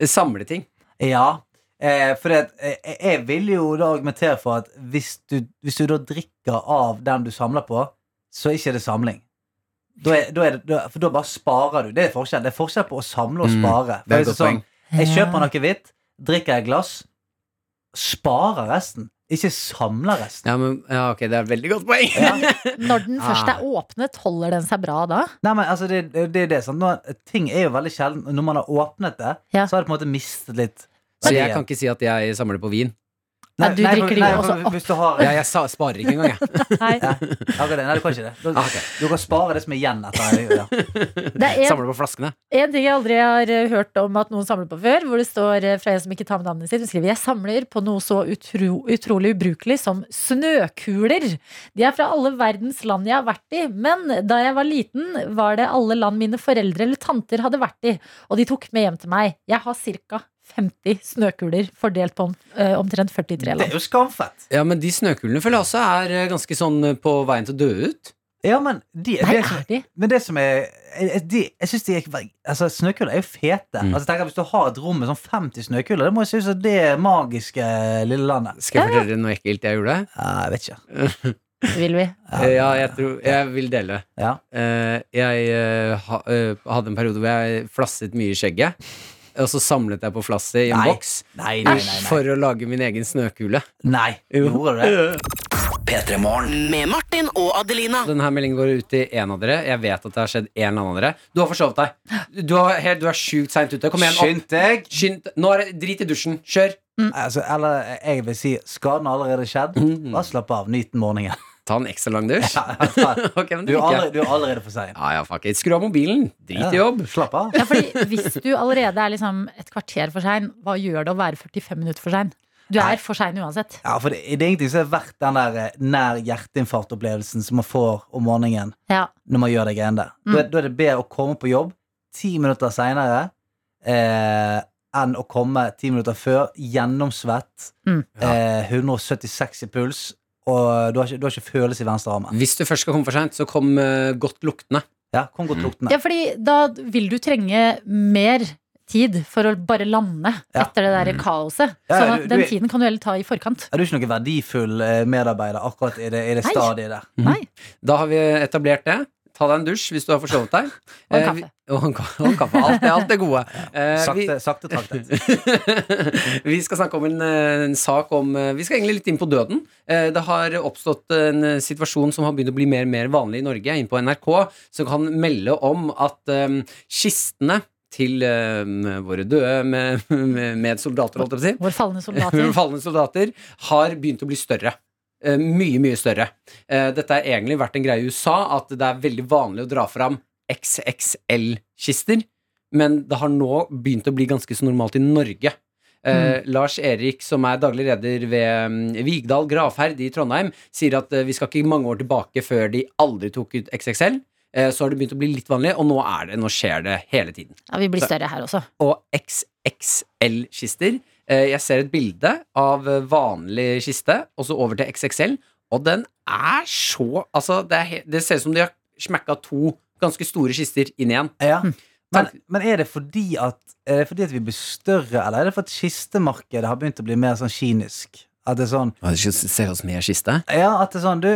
B: eh, samleting.
F: ja. Eh, for det, at, eh, jeg vil jo da argumentere for at hvis du, hvis du da drikker av den du samler på, så er ikke det samling. Da er, da er det, da, for da bare sparer du. Det er forskjell. Det er forskjell på å samle og
B: Mm,
F: spare.
B: det er et
F: For
B: godt
F: sånn,
B: poeng.
F: Jeg
C: Ja.
F: kjøper noe hvitt, drikker et glass, sparer resten. Ikke samler resten.
B: Ja, men, ja, ok, det er et veldig godt poeng.
C: Når den først
B: Ah.
C: er åpnet, holder den seg bra da?
F: Nei, men altså, det, det, det er det. Sånn. Nå, ting er jo veldig sjelden Når man har åpnet det,
C: Ja.
F: så har det på en måte mistet litt
B: Så jeg kan ikke si at jeg samler på vin.
C: Nei, du drikker det jo også opp.
F: altså, Hvis du har
B: Jeg, jeg sa, sparer ikke engang, jeg.
C: Nei.
F: ja, akkurat det. Nei, du kan ikke det. Du,
B: Ah, ok.
F: du kan spare det som er igjen etter ja.
C: Det er en
B: Samler på flaskene.
C: En ting jeg aldri har eh, hørt om at noen samler på før, hvor det står eh, fra en som ikke tar med navnet sitt, hun skriver jeg samler på noe så utro, utrolig ubrukelig som snøkuler. De er fra alle verdens land jeg har vært i, men da jeg var liten, var det alle land mine foreldre eller tanter hadde vært i, og de tok med hjem til meg. Jeg har ca. 50 snøkuler fordelt på om, eh, omtrent 43
F: Det
C: land.
F: er jo skamfett.
B: Ja, men de snøkulene føler jeg også er eh, ganske sånn eh, på veien til å dø ut.
F: Ja, men de,
C: Nei,
F: det som,
C: er de?
F: men det som er jeg- de, Jeg syns de er Altså, snøkuler er jo fete.
B: Mm.
F: Altså, tenk at Hvis du har et rom med sånn 50 snøkuler, det må jo se ut som det magiske lille landet.
B: Skal jeg fortelle dere noe ekkelt jeg gjorde?
F: Ja, jeg vet ikke.
C: Vil vi?
F: Ja.
B: Eh, Ja, jeg tror Jeg vil dele.
F: Ja.
B: Eh, Jeg eh, ha- eh, hadde en periode hvor jeg flasset mye i skjegget. Og så samlet jeg på flasset i en
F: Nei.
B: boks
F: Nei, nei, nei. nei.
B: for å lage min egen snøkule.
F: nei.
B: Jo.
F: Gjorde du det?
D: Med Martin og Adelina.
B: Denne meldingen går ut til en av dere. Jeg vet at det har skjedd en eller annen av dere. Du har forsovet deg. Du, har, helt- du er sjukt seint ute. Kom igjen. Opp.
F: Skynd deg!
B: Skynd. Nå er det drit i dusjen. Kjør.
C: Mm.
B: Mm.
F: Altså, eller jeg vil si, skaden har allerede skjedd. Bare slapp av. Nyt den morgenen.
B: Ta en ekstra lang dusj? Ok, men
F: Du
B: det liker
F: er
B: jeg.
F: allerede, du er allerede for sein.
B: Ja, ja, fuck it. Skru av mobilen. Drit i jobb.
F: Slapp av.
C: Ja, fordi hvis du allerede er liksom et kvarter for sein, hva gjør det å være 45 minutter for sein? Du er for sein uansett.
F: Ja, for det, det er ingenting som er verdt den der eh, nær hjerteinfarktopplevelsen som man får om morgenen
C: Ja.
F: når man gjør de greiene der. Da,
C: Mm.
F: er- da er det bedre å komme på jobb ti minutter seinere eh, enn å komme ti minutter før, gjennomsvett,
C: Mm.
F: eh, 176 i puls, og du har ikke, du har ikke følelse i venstre armen.
B: Hvis du først skal komme for seint, så kom eh, godt luktende.
F: Ja, kom
B: Mm.
F: godt luktende.
C: ja, fordi da vil du trenge mer tid for å bare lande
F: Ja.
C: etter det der kaoset.
F: Ja,
C: Sånn
F: du-
C: at
F: du
C: den
F: er-
C: tiden kan du heller ta i forkant.
F: Er du ikke noen verdifull eh, medarbeider akkurat i det, i det
C: Nei.
F: stadiet der?
C: Nei.
B: Da har vi etablert det. Ta deg en dusj hvis du har forsovet deg.
C: Og en
B: Eh,
C: kaffe.
B: vi- Og en ka- og en kaffe. Alt det, alt det gode. Eh, vi-
F: Sakte, sakte traktet.
B: vi skal snakke om en, eh, en sak om eh, Vi skal egentlig litt inn på døden. Eh, Det har oppstått en eh, situasjon som har begynt å bli mer og mer vanlig i Norge, inn på NRK, som kan melde om at eh, kistene til eh, våre døde med, med, med soldater, holdt jeg på å si,
C: Vår fallende soldater.
B: Falne soldater har begynt å bli større. Eh, Mye, mye større. Eh, Dette har egentlig vært en greie i USA at det er veldig vanlig å dra fram XXL-kister, men det har nå begynt å bli ganske så normalt i Norge. Eh, Lars Erik, som er daglig leder ved mm, Vigdal gravferd i Trondheim, sier at eh, vi skal ikke mange år tilbake før de aldri tok ut XXL. Eh, så har det begynt å bli litt vanlig, og nå, er det, nå skjer det hele tiden
C: Ja, vi blir større her også.
B: og XXL-kister. Eh, Jeg ser et bilde av eh, vanlig kiste, og så over til XXL, og den er så Altså, det, er, he- det ser ut som de har smekka to ganske store kister inn igjen.
F: Ja.
C: Mm.
F: Men,
B: Takk.
F: men er det fordi at Er det fordi at vi blir større, eller er det for at kistemarkedet har begynt å bli mer sånn kynisk? At det er sånn
B: Ser ut som ei kiste.
F: Ja, at det er sånn Du,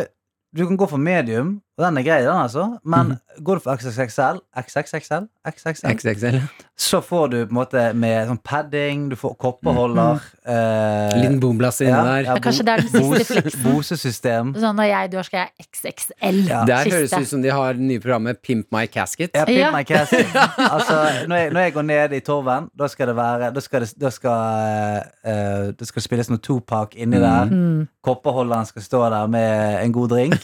F: du kan gå for medium, og den er grei, den, altså, men
C: Mhm.
F: går du for XXXL, XXXL, XXL,
B: XXL.
F: så får du på en måte med sånn padding, du får kopperholder
C: Mhm.
F: eh,
B: Liten boomblast inni
F: ja,
B: der.
F: ja,
C: Ja, kanskje det er den
F: bo-
C: siste fleksen.
F: Bosesystem.
C: Sånn når jeg dør, skal jeg XXL.
F: Ja.
B: Der høres
C: Kiste.
B: det ut som de har det nye programmet Pimp my casket.
F: Ja, pimp
C: Ja.
F: my cast. altså, når, jeg, når jeg går ned i torven, da skal det være Da skal det, da skal, eh, det skal spilles noe Tupac inni der.
C: Mm.
F: Kopperholderen skal stå der med en god drink.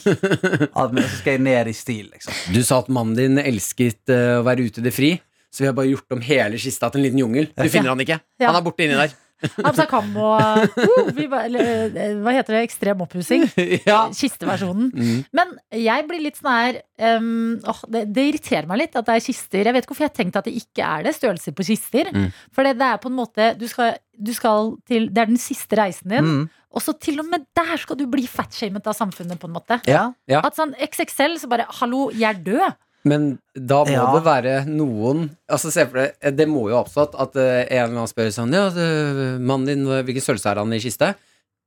F: Alt mulig, Så skal jeg ned i stil, liksom.
B: Du sa at mannen din elsket eh, å være ute i det fri, så vi har bare gjort om hele kista til en liten jungel. Du finner han ikke.
C: Ja.
B: Han er borte inni der.
C: Absakam og uh, vi ba, eller, eh, Hva heter det? Ekstrem oppussing.
B: Ja.
C: Kisteversjonen.
B: Mm.
C: Men jeg blir litt sånn her ehm, åh, det, det irriterer meg litt at det er kister. Jeg vet ikke hvorfor jeg har tenkt at det ikke er det. Størrelser på kister.
B: Mm.
C: For det, det er på en måte du skal, du skal til Det er den siste reisen din.
F: Mm.
C: Og så til og med der skal du bli fatshamet av samfunnet, på en måte.
F: Ja.
B: Ja.
C: At sånn XXL, så bare Hallo, jeg er død.
B: Men da må
F: Ja.
B: det være noen Altså se for deg, Det må jo ha oppstått at eh, en eller annen spør sånn Ja, det- mannen din, hva- hvilken størrelse er han i kiste?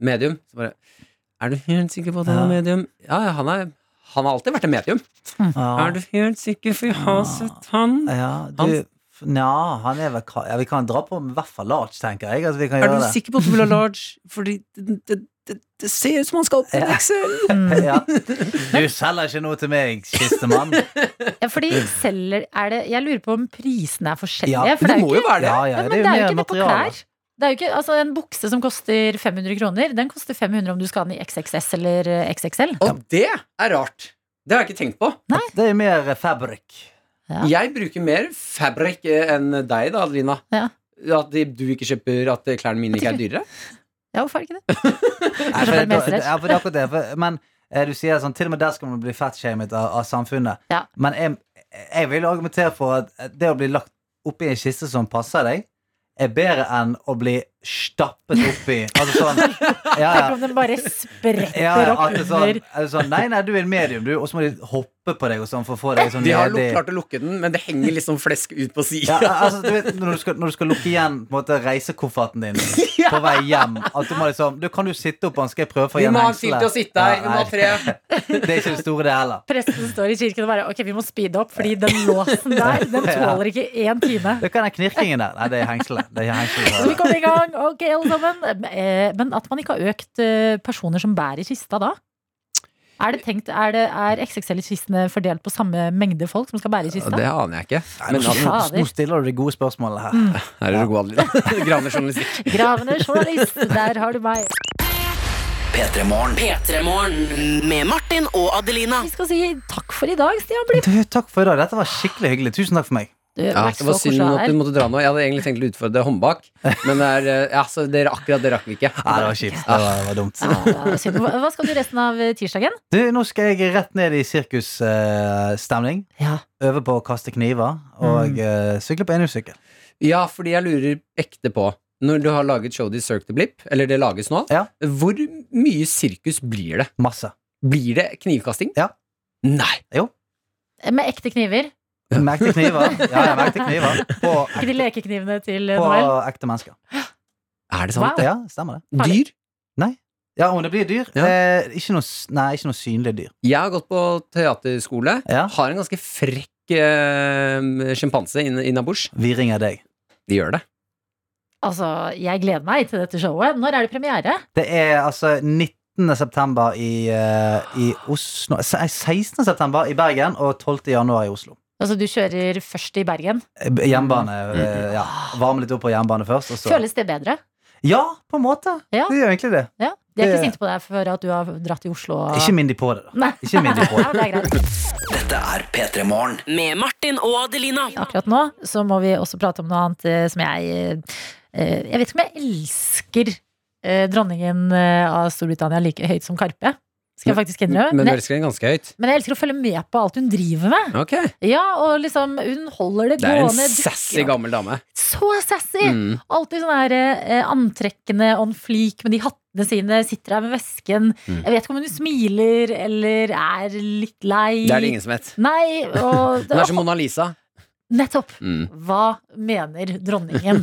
B: Medium. Så bare Er du helt sikker på at han
F: Ja.
B: er medium? Ja, ja, han er Han har alltid vært en medium. Er
F: Ja.
B: du helt sikker, for jeg har
F: Ja.
B: sett han.
F: ja du,
B: Han-
F: Nja, han er vel ka- ja, Vi kan dra på med i hvert fall large, tenker jeg. Altså, vi kan
B: Er
F: gjøre
B: du
F: det.
B: sikker på at du vil ha large? Fordi det, det, det, det ser ut som han skal opp i
F: Ja.
B: Excel.
C: Mm.
F: Ja. Du selger ikke noe til meg, kistemann.
C: Ja, fordi selger er det Jeg lurer på om prisene er forskjellige.
F: Ja,
C: for
B: Det
C: er jo
B: må jo være det.
F: Ja,
C: Ja,
F: ja,
C: men det er jo
F: mer
C: ikke det på
F: materialer.
C: klær. Det er jo ikke, altså En bukse som koster 500 kroner, den koster 500 om du skal ha den i XXS eller eh, XXL.
B: Og det er rart. Det har jeg ikke tenkt på.
F: Det er jo mer eh, fabrikk.
B: Jeg bruker mer fabric eh, enn deg da, Adelina.
C: Ja.
B: At de- du ikke kjøper at eh, klærne mine ikke er dyrere.
C: Ja, hvorfor er det ikke det?
F: Nei,
C: Kanskje
F: for
C: bare
F: det-
C: mensrett.
F: Ja, for det er akkurat det. For, men eh, du sier sånn, til og med der skal man bli fatshamet av, av samfunnet.
C: Ja.
F: Men jeg, jeg vil argumentere for at eh, det å bli lagt oppi en kiste som passer deg, er bedre enn å bli stappet oppi. Altså sånn ja,
C: Tenk
F: ja.
C: om den bare spretter
F: Ja, ja,
C: opp
F: at det er sånn,
C: under.
F: er det sånn Nei, nei, du er en medium, du, og så må de hoppe på deg og sånn for å få deg sånn
B: De har
F: nedi.
B: luk- klart å lukke den, men det henger liksom flesk ut på
F: Ja,
B: sida.
F: altså, du vet, når, du skal, når du skal lukke igjen på en måte, reisekofferten din på vei hjem At du må liksom Du, kan du sitte opp, han skal jeg prøve å få
B: Vi
F: igjen
B: må ha en til
F: hengselet?
B: til å sitte her.
F: Ja,
B: Vi må ha
F: nei.
B: tre.
F: Det er ikke det store, det heller.
C: Presten står i kirken og bare Ok, vi må speede opp, fordi den låsen der, den tåler ikke én time.
F: Det kan den knirkingen der. Nei, det er hengselet. Det er
C: Så vi
F: hengselet.
C: kommer i gang, ok, alle sammen. Eh, Men at man ikke har økt eh, personer som bærer kista da? Er, det tenkt, er, det, er XXL-kistene fordelt på samme mengde folk som skal bære i kista?
B: Det aner jeg ikke.
F: Nei,
B: Men
F: nå,
B: altså,
C: altså-
F: nå- nå stiller du de gode spørsmålene her.
B: Mm. her er det god alder. Graner journalistikk.
C: Gravende journalist, der har du meg.
D: P3morgen. Med Martin og Adelina.
C: Vi skal si takk for i dag, Stian Blipp.
F: Du, takk for i dag. Dette var skikkelig hyggelig. Tusen takk for meg.
C: Du,
B: Ja,
C: vær
B: det
C: så
B: var synd
C: koselig
B: at du
C: her.
B: måtte dra nå. Jeg hadde egentlig tenkt å utfordre håndbak, men det er, eh, ja, så dere, akkurat det rakk vi ikke.
F: Nei, det var kjipt. Det var, det var dumt.
C: Ja, det var synd. Hva hva skal du resten av eh, tirsdagen?
F: Du, nå skal jeg rett ned i sirkusstemning.
C: Ja.
F: Øve på å kaste kniver og
C: Mm.
F: eh, sykle på enhjulssykkel.
B: Ja, fordi jeg lurer ekte på Når du har laget showet i Cirque de Blip, eller det lages nå,
F: Ja.
B: hvor mye sirkus blir det?
F: Masse.
B: Blir det knivkasting?
F: Ja.
B: Nei.
C: Eh, Med ekte kniver.
F: Med ekte kniver. Ja, ja, med ekte kniver. På,
C: Ikke de lekeknivene til eh,
F: på
C: Noel.
F: ekte mennesker.
B: Er det
C: Wow.
B: sant?
F: Ja, stemmer det.
B: det? Dyr?
F: Ja, om det blir dyr?
B: Ja.
F: Eh, ikke, noe, s- nei, ikke noe synlig dyr.
B: Jeg har gått på teaterskole.
F: Ja.
B: Har en ganske frekk eh, sjimpanse inn- innabords.
F: Vi ringer deg.
B: De gjør det.
C: Altså, jeg gleder meg til dette showet. Når er det premiere?
F: Det er altså 19. september i, eh, i Oslo se- nei, 16. september i Bergen og 12. januar i Oslo.
C: Altså, du kjører først i Bergen.
F: Eh, b- Hjemmebane. eh, Ja. Varme litt opp på hjemmebane først, og så
C: Føles det bedre?
F: Ja, på en måte.
C: Ja.
F: Det gjør egentlig det.
C: Ja. De er
F: Det-
C: ikke sinte på deg for at du har dratt til Oslo. og-
F: Ikke minn de på det, da.
C: Nei.
F: Ikke minn de på
C: Ja,
F: det.
C: det er greit.
D: Med Martin og Adelina.
C: Akkurat nå så må vi også prate om noe annet eh, som jeg eh, Jeg vet ikke om jeg elsker eh, dronningen eh, av Storbritannia like høyt som Karpe. Skal jeg faktisk innrømme.
B: Men
C: Men
B: du
C: jeg,
B: elsker den ganske høyt.
C: men jeg elsker å følge med på alt hun driver med.
B: Ok.
C: Ja, og liksom Hun holder det
B: Det er en
C: gående. dukker
B: sassy
C: opp.
B: gammel dame.
C: Så sassy!
B: Mm.
C: Alltid sånn her eh, antrekkende on fleak med de hattene sine, sitter her med vesken.
B: Mm.
C: Jeg vet ikke om hun smiler eller er litt lei.
B: Det er det ingen som vet.
C: Nei, og
B: Hun er som Mona Lisa.
C: Nettopp!
B: Mm.
C: Hva mener dronningen?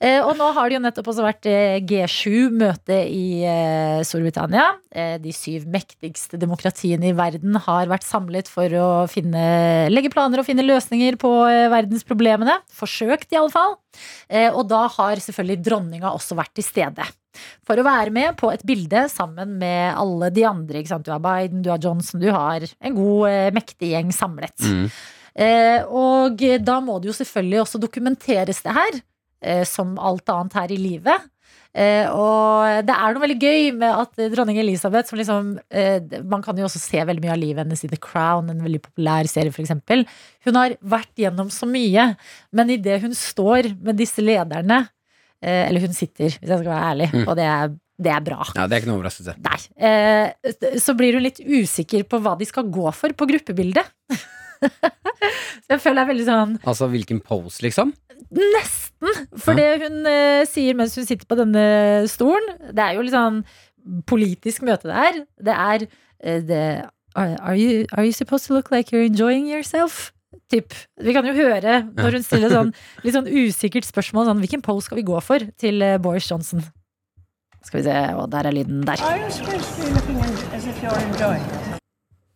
C: eh, og nå har det jo nettopp også vært eh, G7-møte i eh, Storbritannia. Eh, de syv mektigste demokratiene i verden har vært samlet for å finne, legge planer og finne løsninger på eh, verdensproblemene. Forsøkt, iallfall. Eh, og da har selvfølgelig dronninga også vært til stede. For å være med på et bilde sammen med alle de andre. Ikke sant? Du har Biden, du har Johnson, du har en god, eh, mektig gjeng samlet.
B: Mm.
C: Eh, og da må det jo selvfølgelig også dokumenteres det her, eh, som alt annet her i livet. Eh, og det er noe veldig gøy med at eh, dronning Elisabeth som liksom, eh, Man kan jo også se veldig mye av livet hennes i The Crown, en veldig populær serie f.eks. Hun har vært gjennom så mye, men idet hun står med disse lederne eh, Eller hun sitter, hvis jeg skal være ærlig,
B: Mm.
C: og det er, det er bra.
B: Ja, det er ikke noe overraskelse.
C: Nei. Eh, så blir hun litt usikker på hva de skal gå for på gruppebildet. Så jeg føler det er veldig sånn
B: Altså hvilken pose, liksom?
C: Nesten! For det hun eh, sier mens hun sitter på denne stolen, det er jo litt sånn politisk møte det er. Det er eh, det are, are, you, are you supposed to look like you're enjoying yourself? Typ. Vi kan jo høre når hun stiller sånn litt sånn usikkert spørsmål sånn Hvilken pose skal vi gå for til eh, Boris Johnson? Skal vi se Å, der er lyden der.
H: Are you supposed to be looking in as if you're enjoying it?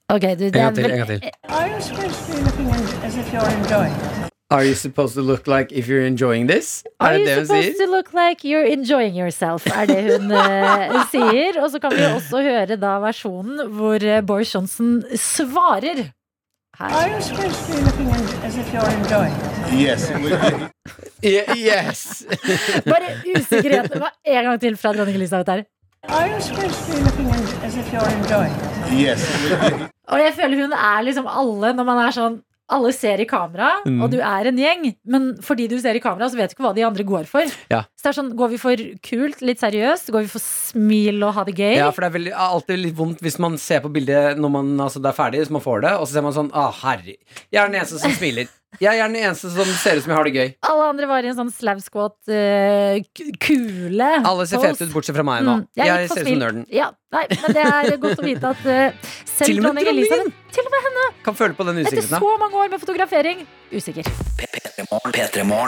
C: Ok, du,
B: En
C: det
B: gang
C: er
B: til.
C: vel eh,
B: en gang til
H: Are you supposed to be looking in as if you're enjoying it?
B: Are you supposed to look like if you're enjoying this?
C: Are
B: Er det
C: you
B: det hun
C: supposed
B: sier?
C: to look like you're enjoying yourself? Er det hun eh, sier. Og så kan vi også høre da versjonen hvor eh, Boris Johnson svarer.
H: Are
C: Her.
H: you supposed to be looking in as if you're enjoying it?
B: Ye- Yes!
C: Bare usikkerheten var en gang til fra dronning Elisabeth her.
H: Are you supposed to be looking in as if you're enjoying it?
C: Og jeg føler hun er liksom alle når man er sånn alle ser i kamera,
B: Mm.
C: og du er en gjeng. Men fordi du ser i kamera, så vet du ikke hva de andre går for.
B: Ja.
C: Så det er sånn, Går vi for kult, litt seriøst? Går vi for smil og ha det gøy?
B: Ja, for det er veldig, alltid litt vondt hvis man ser på bildet når man altså, det er ferdig, så man får det, og så ser man sånn ah, herre, jeg er den eneste som smiler. Jeg er den eneste som ser ut som jeg har det gøy.
C: Alle andre var i en sånn slavskåt eh, k- kule.
B: Alle ser fete ut, bortsett fra meg nå.
C: Mm,
B: Jeg,
C: jeg gikk
B: ser ut
C: for
B: som
C: smilt.
B: nerden.
C: Ja, nei, men det er godt å vite at eh, selv
B: Til og med
C: dronning
B: dronningen!
C: Elisabeth Til og med
B: Kan føle på den
C: etter
B: usikkerheten. da.
C: så mange år med fotografering. Usikker.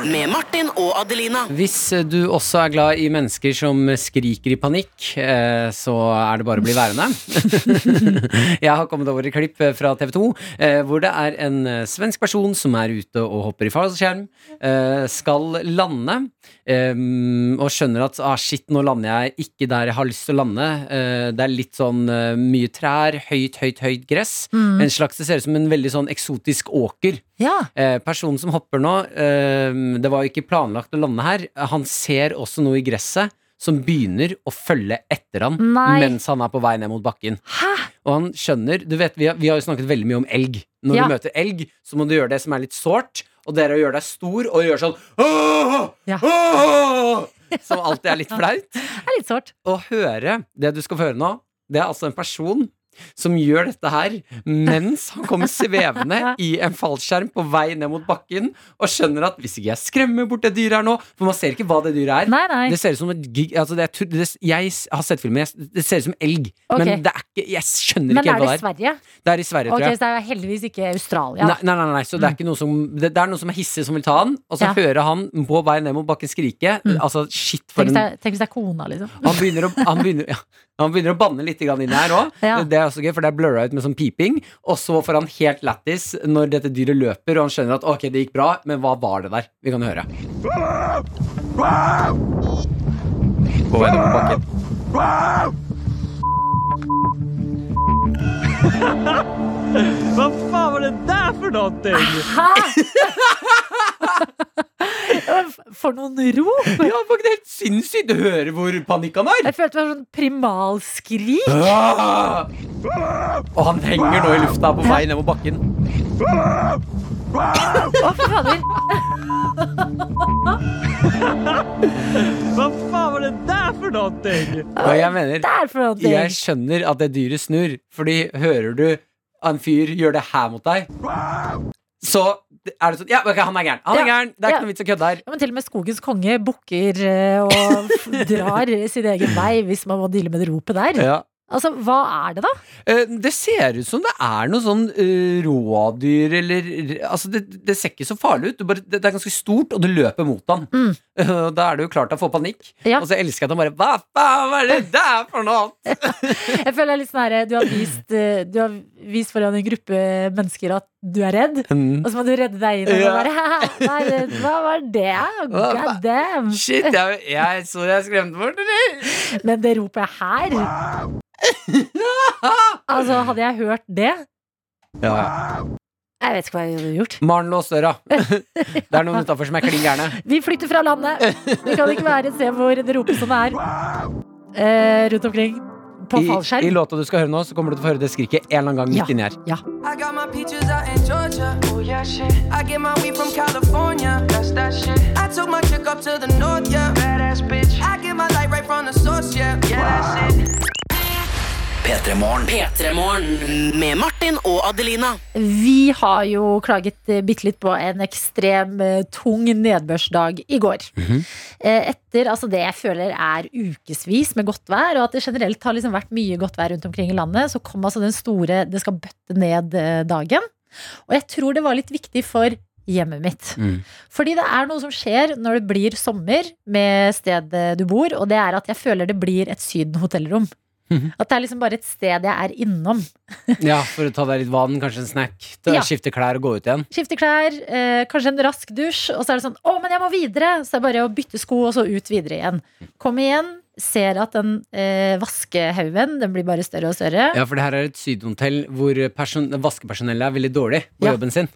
D: Med Martin og Adelina.
B: Hvis eh, du også er glad i mennesker som eh, skriker i panikk, eh, så er det bare å bli værende. Jeg har kommet over et klipp eh, fra TV 2 hvor det er en eh, svensk person som er ute og hopper i fallskjerm, eh, skal lande eh, og skjønner at ah, shit, nå lander jeg ikke der jeg har lyst til å lande. Eh, Det er litt sånn eh, mye trær, høyt, høyt, høyt gress. En slags, Det ser ut som en veldig sånn eksotisk åker.
C: Ja.
B: Eh, personen som hopper nå, eh, det var jo ikke planlagt å lande her. Han ser også noe i gresset som begynner å følge etter han
C: Nei.
B: mens han er på vei ned mot bakken.
C: Hæ?
B: Og han skjønner Du vet, vi har, vi har jo snakket veldig mye om elg. Når
C: Ja.
B: du møter elg, så må du gjøre det som er litt sårt, og det er å gjøre deg stor og gjøre sånn Åh!
C: Ja.
B: Åh! Som alltid er litt flaut.
C: Det er litt sårt.
B: Å høre det du skal få høre nå, det er altså en person som gjør dette her mens han kommer svevende i en fallskjerm på vei ned mot bakken og skjønner at hvis ikke jeg skremmer bort det dyret her nå For man ser ikke hva det dyret er.
C: Nei, nei.
B: Det ser ut som et gig, altså det, er tu- det, Jeg s- har sett filmen, jeg, det ser ut som elg.
C: Ok.
B: Men det er ikke, jeg skjønner
C: Men
B: ikke
C: er
B: helt hva det
C: det
B: er.
C: Sverige?
B: Det er i Sverige,
C: Ok,
B: tror jeg.
C: så det er heldigvis ikke Australia.
B: Nei, nei, nei, nei, så det er ikke noe som Det, det er noe som er hissig som vil ta han, og så
C: Ja. Mm.
B: hører han på vei ned mot bakken skrike. Altså, shit, for
C: Tenk hvis
B: en
C: det er- tenk hvis det er kona, liksom.
B: han begynner, å, han, begynner, ja, han begynner å banne litt grann inn her òg.
C: Ja.
B: Det er også gøy, for det er blurra ut med sånn piping. Og så får han helt lættis når dette dyret løper, og han skjønner at ok, det gikk bra, men hva var det der? Vi kan høre. På vei ned på bakken.
C: Hæ?! For noen rop!
B: Ja, det var ikke helt sinnssykt å høre hvor panikk han er.
C: Jeg følte det var sånn primalskrik.
B: Ah! Og han henger nå i lufta på vei ned mot bakken.
C: Å, fy fader.
B: Og jeg mener,
C: Det er for noe.
B: jeg skjønner at det dyret snur, fordi hører du en fyr gjøre det her mot deg, så er det sånn Ja, ok, han er gæren. Han
C: Ja,
B: er gæren. Det er
C: ja.
B: ikke noe vits å kødde her.
C: Ja, men til og med skogens konge bukker eh, og f- drar sin egen vei hvis man må deale med det ropet der.
B: Ja.
C: Altså, hva er det, da?
B: Eh, Det ser ut som det er noe sånn eh, rådyr eller Altså, det, det ser ikke så farlig ut. Du bare, det, det er ganske stort, og det løper mot han.
C: Mm.
B: Eh, og Da er det jo klart han får panikk.
C: Ja.
B: Og så elsker jeg at han bare Hva faen var det der for noe?
C: Jeg føler det er litt sånn her, du har vist eh, Du har vist foran en gruppe mennesker at du er redd,
B: Mm.
C: og så må du redde deg inn. Og
B: Ja.
C: bare, «Haha, hva, er det- hva var det? God damn!
B: Shit, jeg, jeg så jeg skremte bort, eller?
C: Men det ropet her Altså, hadde jeg hørt det
B: Ja.
C: Jeg vet ikke hva jeg hadde gjort.
B: Maren lås døra. Det er noen utafor som er klin gærne.
C: Vi flytter fra landet. Vi kan ikke være et sted hvor det ropes som det er. Eh, rundt omkring. På
B: I, I
C: fallskjerm.
B: låta du skal høre nå, så kommer du til å få høre det skriket en eller annen gang midt
C: Ja.
B: inni her.
I: I got my peaches out in Georgia. Oh yeah, shit. I get my weed from California. That's that shit. I took my chick up to the north, yeah. Badass bitch. I get my light right from the source, yeah. Yeah, that's it.
D: P3-morgen med Martin og Adelina.
C: Vi har jo klaget eh, bitte litt på en ekstrem eh, tung nedbørsdag i går.
B: Mhm.
C: Eh, Etter altså, det jeg føler er ukevis med godt vær, og at det generelt har liksom vært mye godt vær rundt omkring i landet, så kom altså den store 'det skal bøtte ned'-dagen. Og jeg tror det var litt viktig for hjemmet mitt.
B: Mm.
C: Fordi det er noe som skjer når det blir sommer med stedet du bor, og det er at jeg føler det blir et Syden hotellrom.
B: Mhm.
C: At det er liksom bare et sted jeg er innom.
B: Ja, For å ta deg litt vann, kanskje en snack. Ta,
C: Ja.
B: Skifte klær og gå ut igjen.
C: Skifte klær, eh, kanskje en rask dusj, og så er det sånn 'Å, men jeg må videre!' Så det er bare å bytte sko, og så ut videre igjen. Kom igjen, ser at den eh, vaskehaugen den blir bare større og større.
B: Ja,
C: Ja,
B: For det her er et sydhotell hvor person vaskepersonellet er veldig dårlig på
C: Ja.
B: jobben sin.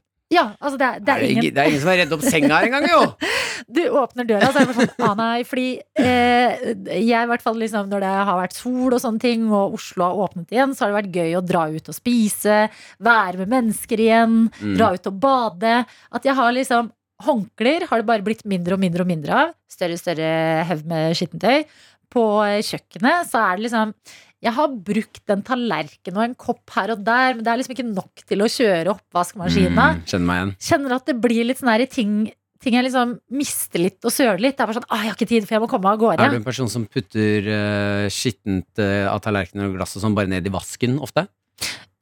C: altså det er, det er ingen
B: det er ingen som har redd opp senga her engang, jo!
C: Du åpner døra, så er det bare sånn 'Å, nei', fordi eh, jeg i hvert fall liksom når det har vært sol og sånne ting, og Oslo har åpnet igjen, så har det vært gøy å dra ut og spise, være med mennesker igjen, dra ut og bade. At jeg har liksom Håndklær har det bare blitt mindre og mindre og mindre av. Større og større haug med skittentøy. På eh, kjøkkenet så er det liksom Jeg har brukt en tallerken og en kopp her og der, men det er liksom ikke nok til å kjøre oppvaskmaskina.
B: Mm, Kjenner meg igjen.
C: Kjenner at det blir litt sånn her i ting Ting jeg liksom mister litt og søler litt. Det er bare sånn, ah, jeg har ikke tid, for jeg må komme av gårde.
B: Er du en person som putter eh, skittent eh, av tallerkener og glass og sånn bare ned i vasken ofte?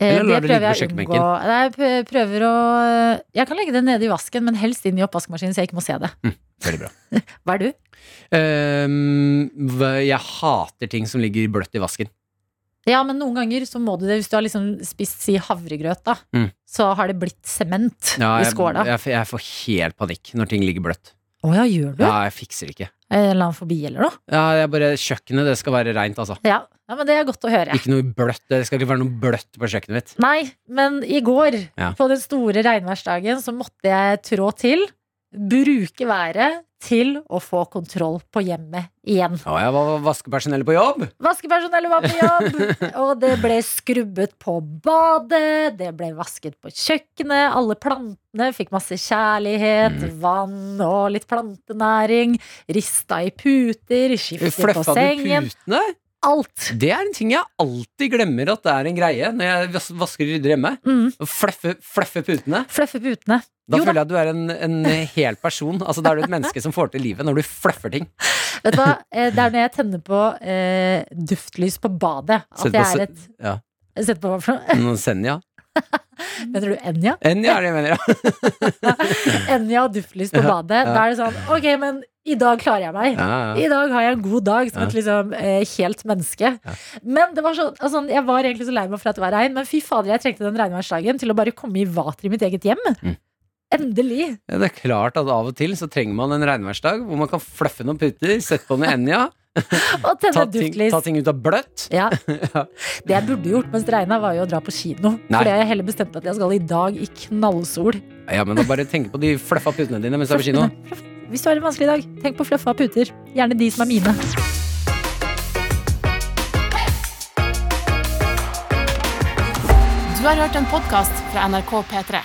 C: Eh,
B: Eller lar
C: det
B: du ligge
C: prøver jeg
B: på
C: å
B: kjøkkenbenken?
C: unngå. Nei, jeg prø- prøver å eh, Jeg kan legge det nede i vasken, men helst inn i oppvaskmaskinen, så jeg ikke må se det.
B: Veldig bra.
C: Hva er du?
B: Ehm, hva- jeg hater ting som ligger bløtt i vasken.
C: Ja, men noen ganger så må du det. Hvis du har liksom spist si havregrøt, da,
B: Mm.
C: så har det blitt sement
B: Ja,
C: i skåla. Å ja.
B: Jeg, jeg, jeg får helt panikk når ting ligger bløtt.
C: gjør du? Eh,
B: Ja, jeg fikser det ikke.
C: En eller annen fobi eller noe?
B: Ja, jeg bare, kjøkkenet det skal være reint, altså.
C: Ja. ja, men det er godt å høre.
B: Ikke noe bløtt, Det skal ikke være noe bløtt på kjøkkenet mitt.
C: Nei, men i går,
B: Ja.
C: på den store regnværsdagen, så måtte jeg trå til. bruke været til å få kontroll på hjemmet igjen.
B: Ja, jeg var vaskepersonell på jobb.
C: Vaskepersonellet var på jobb, og det ble skrubbet på badet, det ble vasket på kjøkkenet, alle plantene fikk masse kjærlighet,
B: Mm.
C: vann og litt plantenæring, rista i puter, skiftet på
B: Fløffa du
C: sengen,
B: putene?
C: alt.
B: Det er en ting jeg alltid glemmer at det er en greie når jeg vas- vasker og rydder hjemme.
C: Mm.
B: Å Fleffe, fleffe putene.
C: Fløffe putene.
B: Da
C: Jo da.
B: føler jeg at du er en, en hel person. Altså, da er du et menneske som får til livet når du fleffer ting.
C: Vet du hva, Eh, det er når jeg tenner på eh, duftlys på badet,
B: Sett
C: at jeg
B: på
C: er
B: se-
C: et
B: ja.
C: Sett på hva for noe?
B: Noen Senja.
C: Mener du Enja?
B: Enja er det jeg mener, ja.
C: Enja og duftlys på badet. Da er det sånn, ok, men i dag klarer jeg meg. I dag har jeg en god dag som et liksom, eh, helt menneske. Men det var sånn, altså, jeg var egentlig så lei meg for at det var regn, men fy fader, jeg trengte den regnværsdagen til å bare komme i vater i mitt eget hjem.
B: Mm.
C: Endelig.
B: Ja, Det er klart at av og til så trenger man en regnværsdag hvor man kan fluffe noen puter, sette på noe Enja,
C: Og tenne
B: ta
C: et
B: ting, ta
C: duftlys.
B: ting ut av bløtt.
C: Ja. Det jeg burde gjort mens det regna, var jo å dra på kino.
B: Nei.
C: For det har jeg heller bestemt at jeg skal i dag, i knallsol.
B: Ja, men da bare tenk på de fluffa putene dine mens du er på kino.
C: Hvis du har en vanskelig dag, tenk på fluffa puter. Gjerne de som er mine.
A: Du har hørt en podkast fra NRK P3.